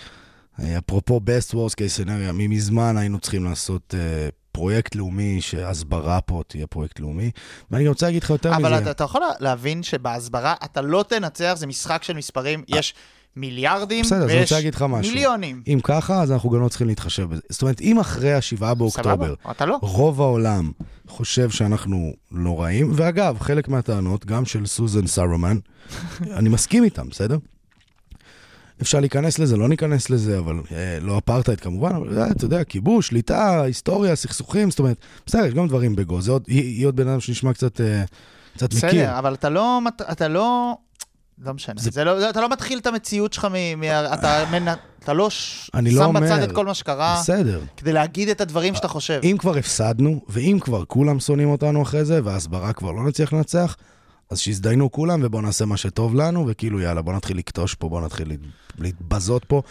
אה, אפרופו best worst case scenario, ממזמן היינו צריכים לעשות אה, פרויקט לאומי, שהסברה פה תהיה פרויקט לאומי. ואני רוצה להגיד לך יותר
אבל אתה,
מזה.
אתה יכול להבין שבהסברה אתה לא תנצח, זה משחק של מספרים, יש מיליארדים
אה. בסדר, אז אני
ויש
רוצה להגיד לך משהו.
מיליונים.
אם ככה, אז אנחנו גם לא צריכים להתחשב בזה. זאת אומרת, אם אחרי השבעה באוקטובר, אוקיי,
סבבה, אתה לא.
רוב העולם חושב שאנחנו לא רעים, ואגב, חלק מהטענות, גם של סוזן סרומן, אני מסכים איתם, בסדר? אפשר להיכנס לזה, לא ניכנס לזה, אבל אה, לא אפרטהייד כמובן, אבל אה, אתה יודע, כיבוש, שליטה, היסטוריה, סכסוכים, זאת אומרת, בסדר, יש גם דברים בגו, זה עוד, היא, היא עוד בן אדם שנשמע קצת, אה, קצת מכיר.
בסדר, אבל אתה לא, מת- אתה לא, לא משנה,
זה-
זה... לא, זה- אתה לא מתחיל את המציאות שלך, מ, מ, אתה, מנ, אתה לא ש-
אני
שם
לא אומר.
בצד את כל מה שקרה,
בסדר.
כדי להגיד את הדברים שאתה חושב.
אם כבר הפסדנו, ואם כבר כולם שונאים אותנו אחרי זה, וההסברה כבר לא נצליח לנצח, אז שיזדיינו כולם ובואו נעשה מה שטוב לנו, וכאילו יאללה, בואו נתחיל לקטוש פה, בואו נתחיל להת- להתבזות פה,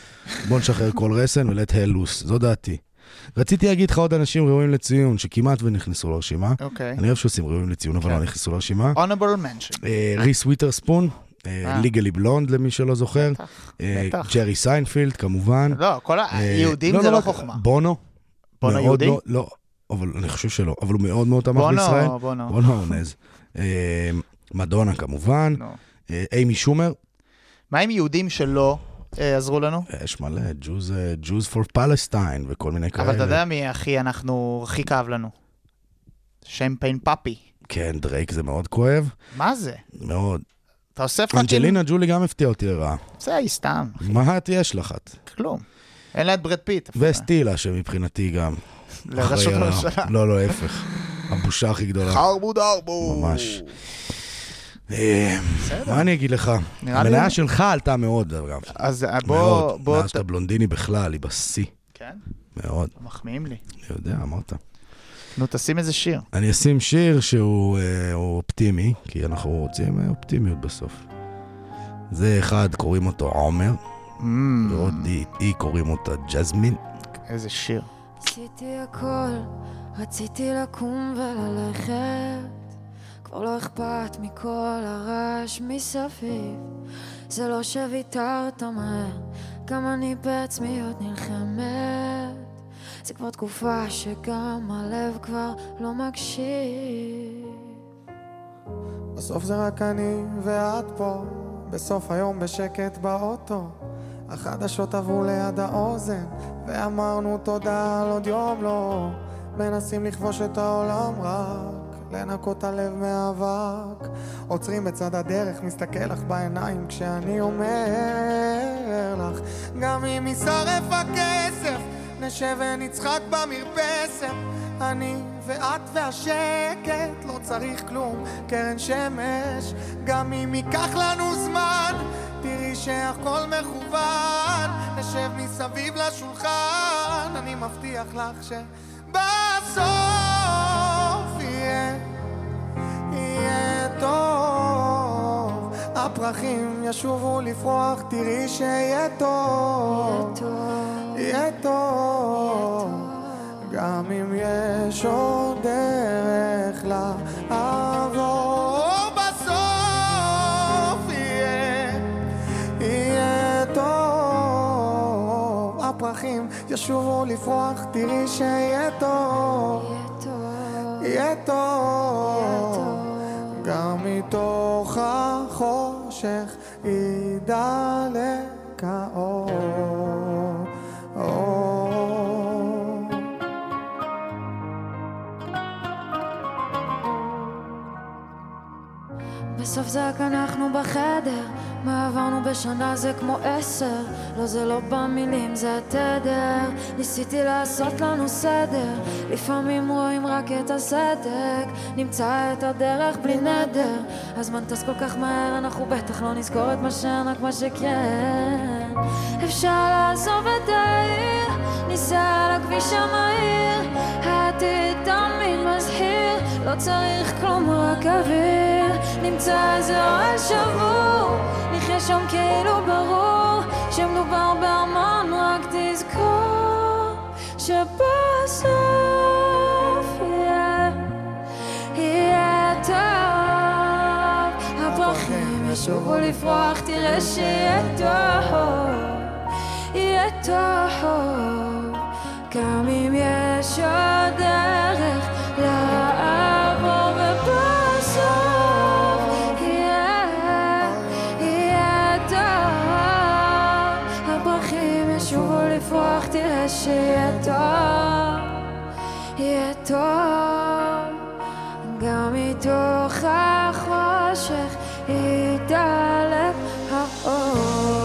בואו נשחרר כל רסן ולט הל לוס, זו דעתי. רציתי להגיד לך עוד אנשים ראויים לציון, שכמעט ונכנסו לרשימה.
אוקיי. כן.
אני אוהב שעושים ראויים לציון, אבל לא נכנסו לרשימה.
honorable mention.
אה, ריס וויטרספון,
אה.
ליגלי בלונד למי שלא זוכר, אה,
בטח.
ג'רי סיינפילד כמובן.
לא, כל
אה,
היהודים זה לא
רק-
חוכמה.
בונו.
בונו
מאוד
יהודי?
מאוד- לא, אבל אני חושב שלא, אבל הוא מאוד מאוד תמך
בונו,
בישראל.
בונו.
בונו אורנז. אה, מדונה כמובן,
נו.
אה, אימי שומר,
מה עם יהודים שלא אה, עזרו לנו?
אה, יש מלא, Jews, אה, Jews for Palestine וכל מיני כאלה.
אבל אתה יודע מי הכי אנחנו, הכי כאב לנו? שם פיין פאפי.
כן, דרייק זה מאוד כואב,
מה זה?
מאוד.
אתה עושה פאקינג...
אנג'לינה ג'ולי גם הפתיעה אותי לרעה.
זה היא סתם,
מה את יש לך? את?
כלום. אין לה את ברד פיט. אפילו.
וסטילה שמבחינתי גם.
לראשות
אחראי על ה-
הממשלה.
לא, לא, ההפך. הבושה הכי גדולה.
חרבו דרבו.
ממש. אה, מה אני אגיד לך?
נראה לי-
המניה שלך עלתה מאוד, אגב.
אז אה, בוא...
מאוד.
בוא...
מאז שאתה בלונדיני בכלל, היא בשיא.
כן?
מאוד.
מחמיאים לי.
אני יודע, אמרת.
נו, תשים איזה שיר.
אני אשים שיר שהוא אה, הוא אופטימי, כי אנחנו רוצים אה, אופטימיות בסוף. זה אחד, קוראים אותו עומר,
אמ,
ועוד היא- היא קוראים אותה ג'זמין.
איזה שיר.
ניסיתי הכל, רציתי לקום וללכת. כבר לא אכפת מכל הרעש מסביב. זה לא שוויתרת מהר, גם אני בעצמי עוד נלחמת. זה כבר תקופה שגם הלב כבר לא מקשיב.
בסוף זה רק אני ואת פה, בסוף היום בשקט באוטו.
החדשות עברו ליד האוזן, ואמרנו תודה על עוד יום לא. מנסים לכבוש את העולם רק, לנקות הלב מהאבק. עוצרים בצד הדרך, מסתכל לך בעיניים כשאני אומר לך, גם אם יישרף הכסף, נשב ונצחק במרפסת. אני ואת והשקט, לא צריך כלום, קרן שמש. גם אם ייקח לנו זמן, תראי שהכל מכוון. נשב מסביב לשולחן, אני מבטיח לך שבסוף יהיה, יהיה טוב. הפרחים ישובו לפרוח, תראי שיהיה טוב. יהיה טוב. גם אם יש עוד דרך לעבור, בסוף יהיה, יהיה טוב. הפרחים ישובו לפרוח, תראי שיהיה טוב, יהיה טוב. גם מתוך החושך ידלק האור. אור.
בסוף זה רק אנחנו בחדר, מה עברנו בשנה זה כמו עשר, לא זה לא במילים זה התדר, ניסיתי לעשות לנו סדר, לפעמים רואים רק את הסדק, נמצא את הדרך בלי נדר, הזמן טס כל כך מהר אנחנו בטח לא נזכור את מה שאין רק מה שכן, אפשר לעזוב את העיר, ניסע על הכביש המהיר, העתיד תמיד מזהיר, לא צריך כלום רק אוויר, נמצא איזה אוהל שבור, נחיה שם כאילו ברור, שמדובר באמן רק תזכור, שבסוף יהיה, יהיה טוב, הפרחים ישובו לפרוח, תראה שיהיה טוב. יהיה טוב, גם אם יש עוד דרך לעבור ובסוף יהיה, יהיה טוב, הפרחים ישובו לפרוח, תראה שיהיה טוב, יהיה טוב, גם מתוך החושך יתעלם האור.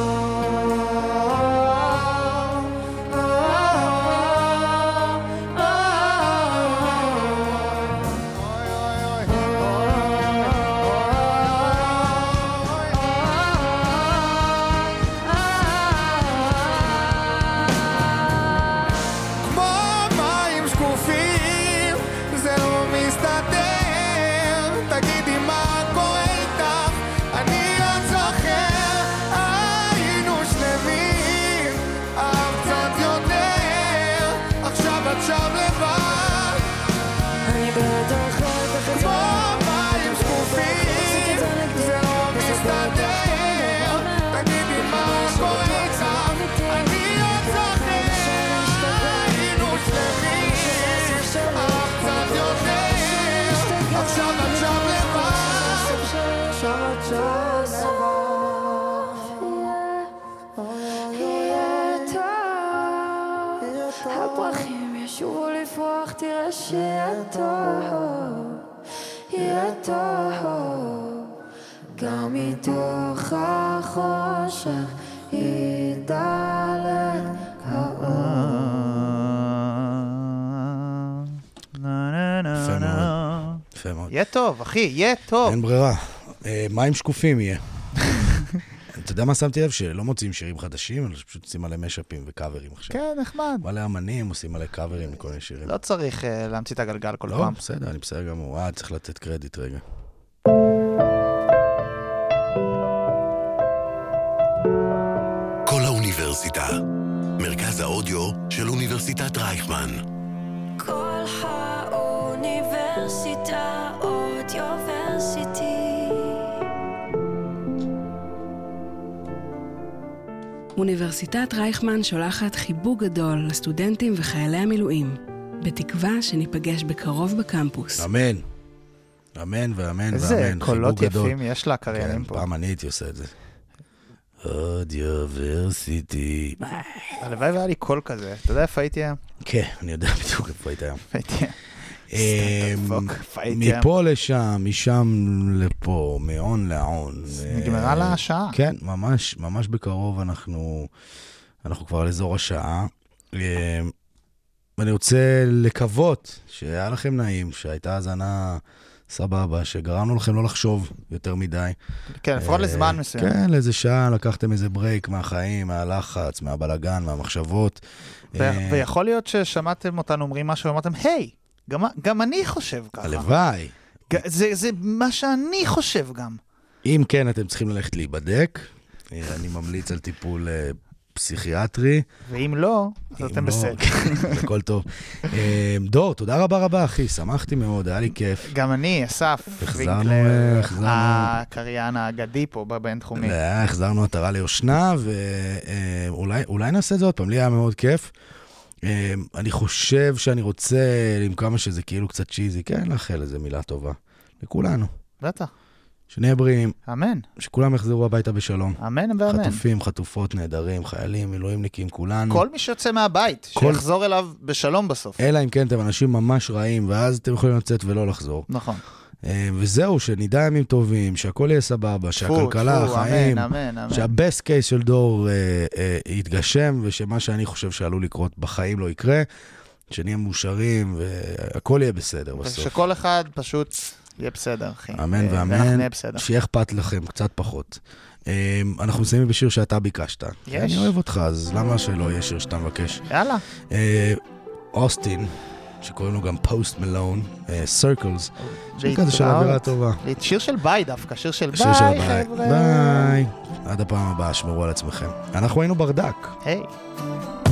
כמו מים שקופים, זה לא מסתדר. תגידי מה קורה איתך, אני עוד זוכר. היינו שלמים, אהב קצת יותר, עכשיו את שם לבד.
אני בטח לא תחזור.
כמו מים שקופים, זה לא מסתדר. תגידי מה קורה איתך, אני עוד זוכר. היינו שלמים, אהב קצת יותר, עכשיו את שם לבד. עכשיו את שם
הפרחים ישובו לפרוח, תראה שיהיה טוב, יהיה טוב, גם מתוך החושך ידלק
יפה מאוד. יפה מאוד.
יהיה טוב, אחי, יהיה טוב.
אין ברירה. אה, מים שקופים יהיה. אתה יודע מה שמתי לב? שלא מוציאים שירים חדשים, אלא שפשוט עושים עליהם משאפים וקאברים עכשיו.
כן, נחמד.
מלא אמנים עושים עלי קאברים לכל מיני שירים.
לא צריך אה, להמציא את הגלגל כל
לא,
פעם.
בסדר, אני בסדר גמור. אה, צריך לתת קרדיט רגע.
כל האוניברסיטה. מרכז האודיו של אוניברסיטת רייכמן.
כל האוניברסיטה אודיוורסיטי.
אוניברסיטת רייכמן שולחת חיבוק גדול לסטודנטים וחיילי המילואים, בתקווה שניפגש בקרוב בקמפוס.
אמן. אמן ואמן ואמן.
איזה
חיבוק
קולות
גדול.
יפים יש לקריינים
כן,
פה.
פעם אני הייתי עושה את זה. אודיוורסיטי.
הלוואי והיה לי קול כזה. אתה יודע איפה הייתי היום?
כן, אני יודע בדיוק איפה היית היום.
הייתי...
אמ,
סטארט-אפ, הייתי-
מפה לשם, משם לפה, מהון להון.
נגמרה
אה,
לה השעה.
כן, ממש, ממש בקרוב אנחנו, אנחנו כבר על אזור השעה. אמ, ואני רוצה לקוות שהיה לכם נעים, שהייתה האזנה סבבה, שגרמנו לכם לא לחשוב יותר מדי.
כן, לפחות
אה,
לזמן מסוים.
כן, לאיזה שעה לקחתם איזה ברייק מהחיים, מהלחץ, מהבלגן, מהמחשבות. אה,
ו- ויכול להיות ששמעתם אותנו אומרים משהו ואמרתם, היי, גם- גם אני חושב ככה.
הלוואי.
ג- זה זה מה שאני חושב גם.
אם כן, אתם צריכים ללכת להיבדק. אה, אני ממליץ על טיפול אה, פסיכיאטרי.
ואם לא, אז
אם
אתם בסדר.
לא, הכל טוב. אה, דור, תודה רבה רבה, אחי, שמחתי מאוד, היה לי כיף.
גם אני, אסף,
החזרנו, אה,
וינקלר,
החזרנו.
הקריין האגדי פה בבינתחומי.
אה, החזרנו עטרה ליושנה, ואולי נעשה את זה עוד פעם, לי היה מאוד כיף. אה, אני חושב שאני רוצה, עם כמה שזה כאילו קצת צ'יזי, כן, לאחל איזה מילה טובה. לכולנו.
בטח,
שנהיה בריאים,
אמן,
שכולם יחזרו הביתה בשלום.
אמן ואמן.
חטופים, חטופות, נעדרים, חיילים, מילואימניקים, כולנו.
כל מי שיוצא מהבית,
כל-
שיחזור אליו בשלום בסוף.
אלא אם כן אתם אנשים ממש רעים, ואז אתם יכולים לצאת ולא לחזור.
נכון.
אה, וזהו, שנדע ימים טובים, שהכל יהיה סבבה, שהכלכלה,
טפו,
החיים,
אמן, אמן, אמן.
שהבסט קייס של דור אה, אה, יתגשם, ושמה שאני חושב שעלול לקרות בחיים לא יקרה, שנהיה מאושרים, והכל יהיה בסדר בסוף.
ושכל אחד פשוט יהיה בסדר, אחי.
אמן
ו- אה, ואנחנו
ואמן,
נהיה בסדר.
שיהיה אכפת לכם קצת פחות. אה, אנחנו מסיימים בשיר שאתה ביקשת.
יש.
אני אוהב אותך, אז למה שלא יהיה שיר שאתה מבקש?
יאללה,
אה, אוסטין, שקוראים לו גם פוסט מלון, סרקלס, שיר כזה של
להתראות.
אווירה טובה.
שיר של ביי דווקא, שיר של
שיר של
ביי,
ביי.
חבר'ה.
ביי. עד הפעם הבאה, שמרו על עצמכם. אנחנו היינו ברדק.
היי.